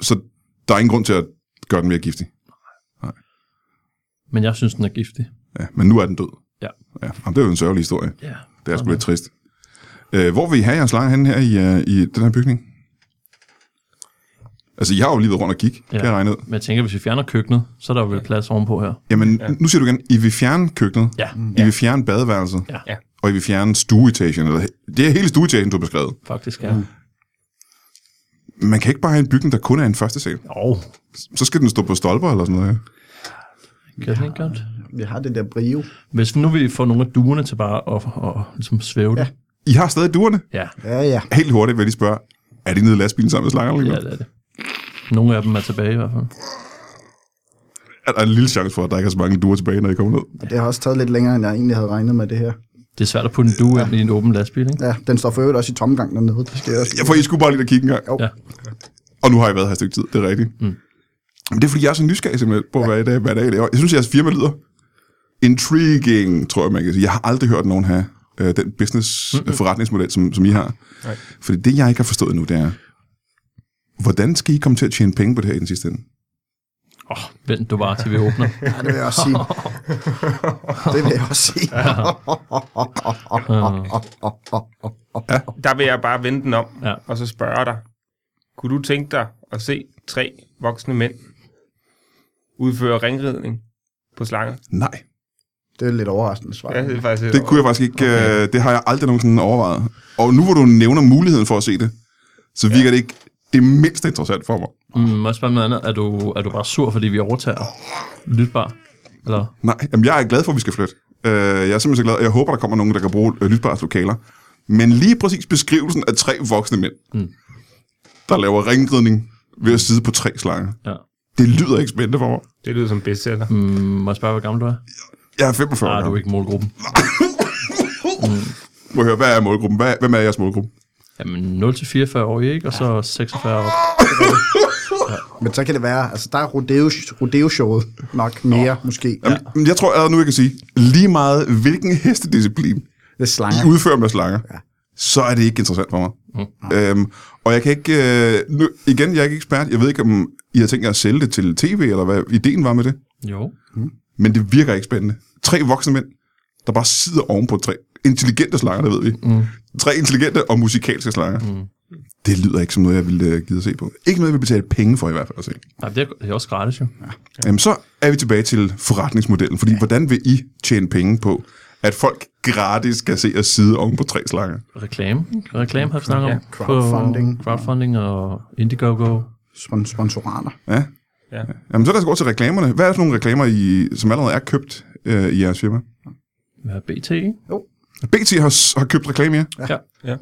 [SPEAKER 1] Så der er ingen grund til at gøre den mere giftig.
[SPEAKER 2] Men jeg synes, den er giftig.
[SPEAKER 1] Ja, men nu er den død.
[SPEAKER 2] Ja.
[SPEAKER 1] ja. Jamen, det er jo en sørgelig historie.
[SPEAKER 2] Ja.
[SPEAKER 1] Det er sgu lidt trist. Øh, hvor vil I have jeres slanger henne her i, øh, i den her bygning? Altså, jeg har jo lige været rundt og kigge, ja.
[SPEAKER 2] Ja.
[SPEAKER 1] kan jeg regne ud.
[SPEAKER 2] Men jeg tænker, hvis vi fjerner køkkenet, så er der vel plads ovenpå her.
[SPEAKER 1] Jamen, ja. nu siger du igen, I vil fjerne køkkenet,
[SPEAKER 2] Ja,
[SPEAKER 1] I vil fjerne badeværelset,
[SPEAKER 2] Ja.
[SPEAKER 4] Ja.
[SPEAKER 1] og I vil fjerne stueetagen. Eller, det er hele stueetagen, du har beskrevet.
[SPEAKER 2] faktisk ja. Mm.
[SPEAKER 1] Man kan ikke bare have en bygning, der kun er en første sal.
[SPEAKER 2] Jo,
[SPEAKER 1] Så skal den stå på stolper eller sådan noget. ja.
[SPEAKER 2] kan den ikke godt?
[SPEAKER 3] Vi har det der brio.
[SPEAKER 2] Hvis nu vi får nogle af duerne til bare at, at, at ligesom svæve det.
[SPEAKER 1] I har stadig duerne.
[SPEAKER 2] Ja.
[SPEAKER 3] Ja, ja.
[SPEAKER 1] Helt hurtigt vil jeg lige spørge, er de nede i lastbilen sammen med slangerne?
[SPEAKER 2] ja,
[SPEAKER 1] Ja.
[SPEAKER 2] det er det. Nogle af dem er tilbage i hvert fald.
[SPEAKER 1] Er der en lille chance for, at der ikke er så mange duer tilbage, når I kommer ned?
[SPEAKER 3] Og det har også taget lidt længere, end jeg egentlig havde regnet med det her.
[SPEAKER 2] Det er svært at putte en due ind i en åben lastbil, ikke?
[SPEAKER 3] Ja, den står for øvrigt også i tomgang dernede. Det skal jeg også.
[SPEAKER 1] Ja, for I skulle bare lige at kigge en gang.
[SPEAKER 2] Ja.
[SPEAKER 1] Og nu har jeg været her et stykke tid, det er rigtigt. Mm. Men det er fordi, jeg er så nysgerrig simpelthen på, hvad, det, hvad det er, I laver. Jeg synes, jeres firma lyder intriguing, tror jeg, man kan sige. Jeg har aldrig hørt nogen have øh, den business-forretningsmodel, som, som I har. Nej. Fordi det, jeg ikke har forstået nu, det er, hvordan skal I komme til at tjene penge på det her i den sidste ende?
[SPEAKER 2] Åh, oh, vent du bare, til vi åbner.
[SPEAKER 3] Ja, det vil jeg også sige. Det vil jeg også sige.
[SPEAKER 4] Der vil jeg bare vende den om,
[SPEAKER 2] Ja.
[SPEAKER 4] ja. og så spørge dig. Kunne du tænke dig at se tre voksne mænd udføre ringridning på slanger?
[SPEAKER 1] Nej,
[SPEAKER 3] Det er et lidt overraskende svar.
[SPEAKER 4] Ja, det er faktisk
[SPEAKER 1] det kunne jeg faktisk ikke. Okay. Øh, det har jeg aldrig nogensinde overvejet. Og nu hvor du nævner muligheden for at se det, så virker ja. det ikke det mindste interessant for mig.
[SPEAKER 2] Mm, må jeg spørge om noget andet? Er du, er du bare sur, fordi vi overtager lytbar? Eller?
[SPEAKER 1] Nej, jamen jeg er glad for, at vi skal flytte. Øh, jeg er simpelthen så glad, og jeg håber, der kommer nogen, der kan bruge øh, lytbare lokaler. Men lige præcis beskrivelsen af tre voksne mænd, mm. der laver ringridning ved at sidde på tre slanger,
[SPEAKER 2] Ja.
[SPEAKER 1] det lyder ikke spændende for mig.
[SPEAKER 4] Det lyder som bestseller.
[SPEAKER 2] Mm, må jeg spørge, hvor gammel du er?
[SPEAKER 1] Jeg er 45 år
[SPEAKER 2] Nej, du er
[SPEAKER 1] gammel.
[SPEAKER 2] ikke målgruppen.
[SPEAKER 1] Må jeg høre, hvad er målgruppen? Hvad, hvem er jeres målgruppe?
[SPEAKER 2] Jamen, 0-44 år, ikke? Og så 46 år.
[SPEAKER 3] Men så kan det være, altså der er rodeo, rodeo-showet nok mere, Nå. måske. Ja.
[SPEAKER 1] Jamen, jeg tror allerede nu, jeg kan sige, lige meget hvilken hestedisciplin
[SPEAKER 3] Det er slanger.
[SPEAKER 1] I udfører med slanger, ja. så er det ikke interessant for mig. Mm. Øhm, og jeg kan ikke... Øh, nu, igen, jeg er ikke ekspert. Jeg ved ikke, om I har tænkt jer at sælge det til tv, eller hvad ideen var med det.
[SPEAKER 2] Jo.
[SPEAKER 1] Men det virker ikke spændende. Tre voksne mænd, der bare sidder oven på et træ. Intelligente slanger, det ved vi. Mm. Tre intelligente og musikalske slanger. Mm. Det lyder ikke som noget, jeg ville øh, gide at se på. Ikke noget, jeg vil betale penge for i hvert fald at se.
[SPEAKER 2] Nej, det er, det er også gratis jo.
[SPEAKER 1] Jamen, så er vi tilbage til forretningsmodellen, fordi hvordan vil I tjene penge på, at folk gratis kan se at sidde oven på tre slanger?
[SPEAKER 2] Reklame. ikke? Reklame har vi snakket om.
[SPEAKER 4] Ja,
[SPEAKER 2] På
[SPEAKER 3] crowdfunding.
[SPEAKER 2] crowdfunding og Indiegogo.
[SPEAKER 3] Spon- sponsorater.
[SPEAKER 1] Ja.
[SPEAKER 4] Ja.
[SPEAKER 1] Jamen, så lad os gå til reklamerne. Hvad er det for nogle reklamer, I, som allerede er købt øh, i jeres firma?
[SPEAKER 2] Med BT, ikke?
[SPEAKER 1] BT har, s- har købt reklamer, ja?
[SPEAKER 2] Ja.
[SPEAKER 4] Ja.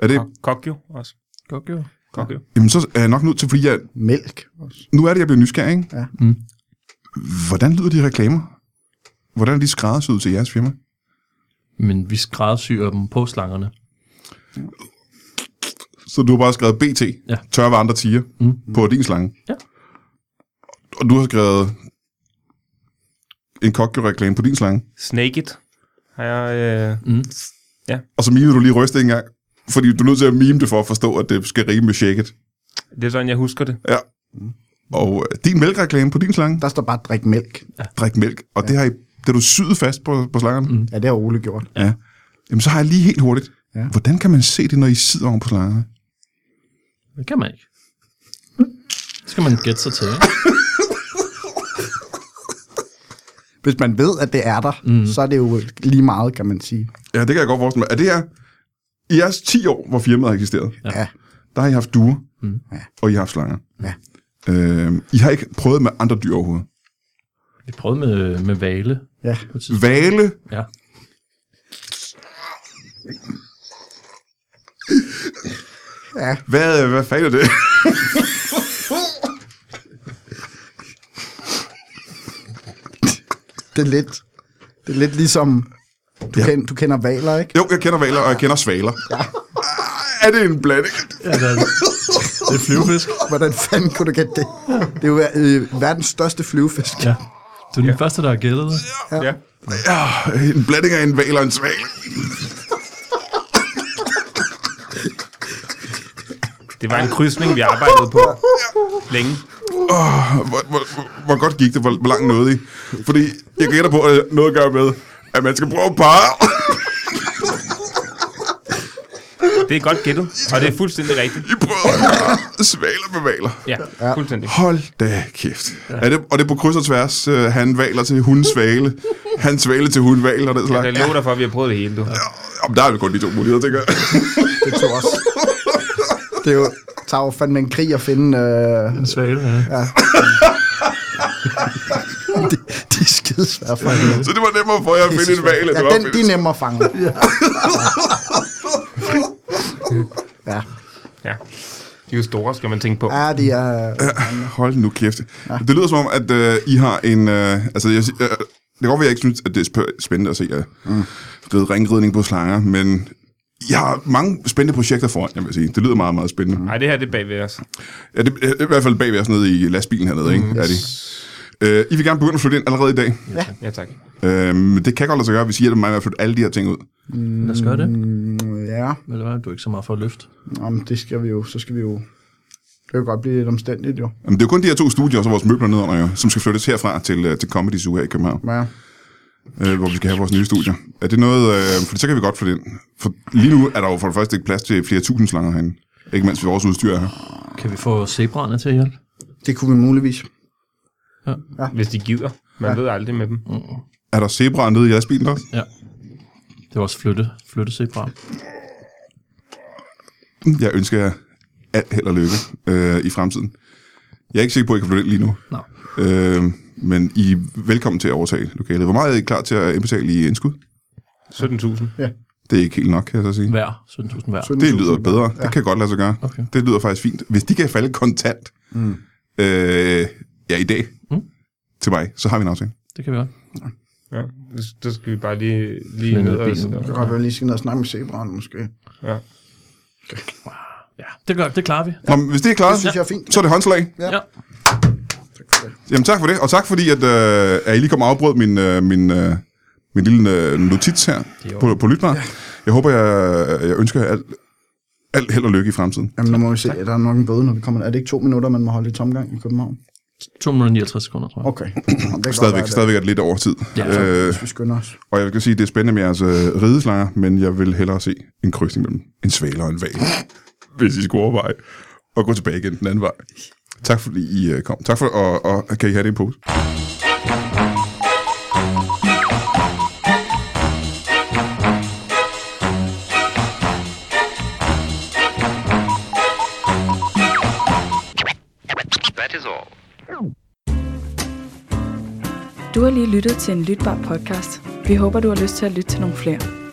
[SPEAKER 1] Er det,
[SPEAKER 4] Kok jo også.
[SPEAKER 2] Godt gjort.
[SPEAKER 4] Kok jo.
[SPEAKER 1] jamen, så er jeg nok nødt til, fordi jeg,
[SPEAKER 3] Mælk også.
[SPEAKER 1] nu er det, jeg bliver nysgerrig, ikke?
[SPEAKER 3] Ja.
[SPEAKER 2] Mm.
[SPEAKER 1] Hvordan lyder de reklamer? Hvordan er de skræddersyet til jeres firma?
[SPEAKER 2] Men vi skræddersyr dem på slangerne.
[SPEAKER 1] Så du har bare skrevet BT,
[SPEAKER 2] Ja.
[SPEAKER 1] tørre andre tiger, mm. på din slange.
[SPEAKER 2] Ja.
[SPEAKER 1] Og du har skrevet en kokkereklame på din slange.
[SPEAKER 4] Snake it. Har jeg, øh,
[SPEAKER 1] Og så mimede du lige ryste en gang, fordi du er nødt til at mime det for at forstå, at det skal rime med shaket.
[SPEAKER 4] det er sådan, jeg husker det.
[SPEAKER 1] Ja. Og øh, din mælkereklame på din slange,
[SPEAKER 3] Der står bare drik mælk.
[SPEAKER 1] drik mælk, og ja. det har I, det har du syet fast på, på slangerne. Mm.
[SPEAKER 3] Ja, det har Ole gjort.
[SPEAKER 1] Ja. Jamen, så har jeg lige helt hurtigt. Ja.
[SPEAKER 3] Ja.
[SPEAKER 1] Hvordan kan man se det, når I sidder oven på slangerne?
[SPEAKER 2] Det kan man ikke. Det skal man gætte sig til, ikke?
[SPEAKER 3] Hvis man ved, at det er der, mm. så er det jo lige meget, kan man sige.
[SPEAKER 1] Ja, det kan jeg godt forestille mig. Er det her, i jeres 10 år, hvor firmaet har eksisteret,
[SPEAKER 3] Ja. ja.
[SPEAKER 1] der har I haft duer, mm. og I har haft slanger.
[SPEAKER 3] Ja.
[SPEAKER 1] Øh, I har ikke prøvet med andre dyr overhovedet.
[SPEAKER 2] Vi prøvede med, med vale.
[SPEAKER 3] Ja.
[SPEAKER 2] På et tidspunkt.
[SPEAKER 1] Vale,
[SPEAKER 2] Ja.
[SPEAKER 1] hvad, hvad fanden er det?
[SPEAKER 3] Det er lidt, det er lidt ligesom, du, ja. kend, du kender valer, ikke?
[SPEAKER 1] Jo, jeg kender valer, og jeg kender svaler. Ja. Er det en blanding?
[SPEAKER 2] ja der er, det er flyvefisk.
[SPEAKER 3] Hvordan fanden kunne du gætte det? Det er jo øh, verdens største flyvefisk.
[SPEAKER 2] Ja. Du er den første, der har gættet det.
[SPEAKER 4] Ja.
[SPEAKER 1] Ja, en blanding af en val og en sval.
[SPEAKER 4] Det var en krydsning, vi arbejdede på længe.
[SPEAKER 1] Hvor, hvor, hvor, hvor godt gik det? Hvor, hvor langt nåede I? Fordi jeg gætter på, at noget gør med, at man skal prøve at parre.
[SPEAKER 4] Det er godt gættet, og det er fuldstændig rigtigt.
[SPEAKER 1] I prøver at parre svaler med valer.
[SPEAKER 4] Ja, fuldstændig.
[SPEAKER 1] Hold da kæft. Ja. Er det, og det er på kryds og tværs. øh, Han valer til hundsvale. Han svale til hundvaler og den slags.
[SPEAKER 4] Jeg lover dig for, at vi har prøvet det hele, du.
[SPEAKER 1] Jamen, der er jo kun de to muligheder, tænker jeg.
[SPEAKER 3] Det tog også. Det er jo, tager jo fandme en krig at finde øh,
[SPEAKER 2] En svale, ja.
[SPEAKER 3] de, de skidesvære for
[SPEAKER 1] Så det var nemmere for jer at finde en val, end
[SPEAKER 3] Ja,
[SPEAKER 1] det var
[SPEAKER 3] den,
[SPEAKER 1] at
[SPEAKER 3] de
[SPEAKER 1] finde-
[SPEAKER 3] er nemmere at fange. Ja. Ja,
[SPEAKER 4] Ja. De er jo store, skal man tænke på.
[SPEAKER 3] ja de er...
[SPEAKER 1] Hold nu kæft. Ja. Det lyder som om, at øh, I har en... Øh, altså, jeg, sig- øh, det kan godt være, jeg ikke synes, at det er spæ- spændende at se jer mm. ride ringridning på slanger, men I har mange spændende projekter foran, jeg vil sige. Det lyder meget, meget spændende. Mm.
[SPEAKER 4] Nej, det her det er bagved os.
[SPEAKER 1] Ja, det er i hvert fald bagved os nede i lastbilen hernede, ikke? Mm. Er de. Øh, I vil gerne begynde at flytte ind allerede i dag.
[SPEAKER 4] Ja, tak.
[SPEAKER 1] Øh, men det kan godt lade sig gøre, hvis I hjælper mig med at flytte alle de her ting ud.
[SPEAKER 2] Lad os gøre det.
[SPEAKER 3] Ja,
[SPEAKER 2] Eller hvad? Du er ikke så meget for at løfte.
[SPEAKER 3] om det skal vi jo, så skal vi jo... Det kan jo godt blive lidt omstændigt, jo.
[SPEAKER 1] Jamen, det er jo kun de her to studier, og så vores møbler nedenunder, jo, som skal flyttes herfra til, øh, til Comedy Zoo her i København.
[SPEAKER 3] Ja.
[SPEAKER 1] øh, hvor vi skal have vores nye studier. Er det noget, øh, for så kan vi godt flytte ind. For lige nu er der jo for det første ikke plads til flere tusind slanger herinde. Ikke mindst vi vores udstyr er her.
[SPEAKER 2] Kan vi få zebraerne til at hjælpe?
[SPEAKER 3] Det kunne vi muligvis.
[SPEAKER 4] Hvis de gider. Man ved aldrig med dem.
[SPEAKER 1] Er der zebraer nede i lastbilen også?
[SPEAKER 2] Ja. Det var også flytte, flytte zebra.
[SPEAKER 1] Jeg ønsker jer alt held og lykke øh, i fremtiden. Jeg er ikke sikker på, at I kan flytte ind lige nu.
[SPEAKER 2] Nå.
[SPEAKER 1] Øh, men I er velkommen til at overtage lokalet. Hvor meget er I klar til at indbetale i indskud?
[SPEAKER 4] 17.000.
[SPEAKER 1] Det er ikke helt nok, kan jeg så sige.
[SPEAKER 2] Hver. 17.000 hver.
[SPEAKER 1] Det lyder bedre. Ja. Det kan godt lade sig gøre.
[SPEAKER 2] Okay.
[SPEAKER 1] Det lyder faktisk fint. Hvis de kan falde kontant mm. øh, ja, i dag mm. til mig, så har vi en aftale.
[SPEAKER 2] Det kan vi godt.
[SPEAKER 4] Ja, så- så skal vi bare lige, lige
[SPEAKER 2] Finde
[SPEAKER 4] ned og...
[SPEAKER 2] bilen.
[SPEAKER 3] Det kan godt være, at vi lige skal ned og snakke med zebraen, måske.
[SPEAKER 4] Ja.
[SPEAKER 2] Ja, det, gør, det klarer vi.
[SPEAKER 1] Nå, men hvis det er klaret,
[SPEAKER 3] Det synes jeg er fint.
[SPEAKER 1] så er det håndslag.
[SPEAKER 3] Ja.
[SPEAKER 2] Ja.
[SPEAKER 1] Jamen tak for det, og tak fordi, at, øh, at I lige kom og afbrød min, øh, min, øh, min lille øh, notits her
[SPEAKER 2] er
[SPEAKER 1] på, på Lytbar. Ja. Jeg håber, jeg, jeg ønsker jer alt, alt held og lykke i fremtiden.
[SPEAKER 3] Jamen, nu må vi se, at der er nok en bøde, når vi kommer. Er det ikke to minutter, man må holde i tomgang i København?
[SPEAKER 2] 259 sekunder, tror jeg.
[SPEAKER 3] Okay. Jamen, det kan godt
[SPEAKER 1] Stadigvæk,
[SPEAKER 3] være,
[SPEAKER 1] stadigvæk er det lidt over tid.
[SPEAKER 2] Ja.
[SPEAKER 1] Øh,
[SPEAKER 3] at Vi skynder os.
[SPEAKER 1] og jeg kan sige, at det er spændende med jeres øh, rideslanger, men jeg vil hellere se en krydsning mellem en svale og en val, hvis I skulle overveje at gå tilbage igen den anden vej. Tak fordi I øh, kom. Tak for, og, og kan I have det i en pose?
[SPEAKER 6] That is all.
[SPEAKER 7] Du har lige lyttet til en lytbar podcast. Vi håber, du har lyst til at lytte til nogle flere.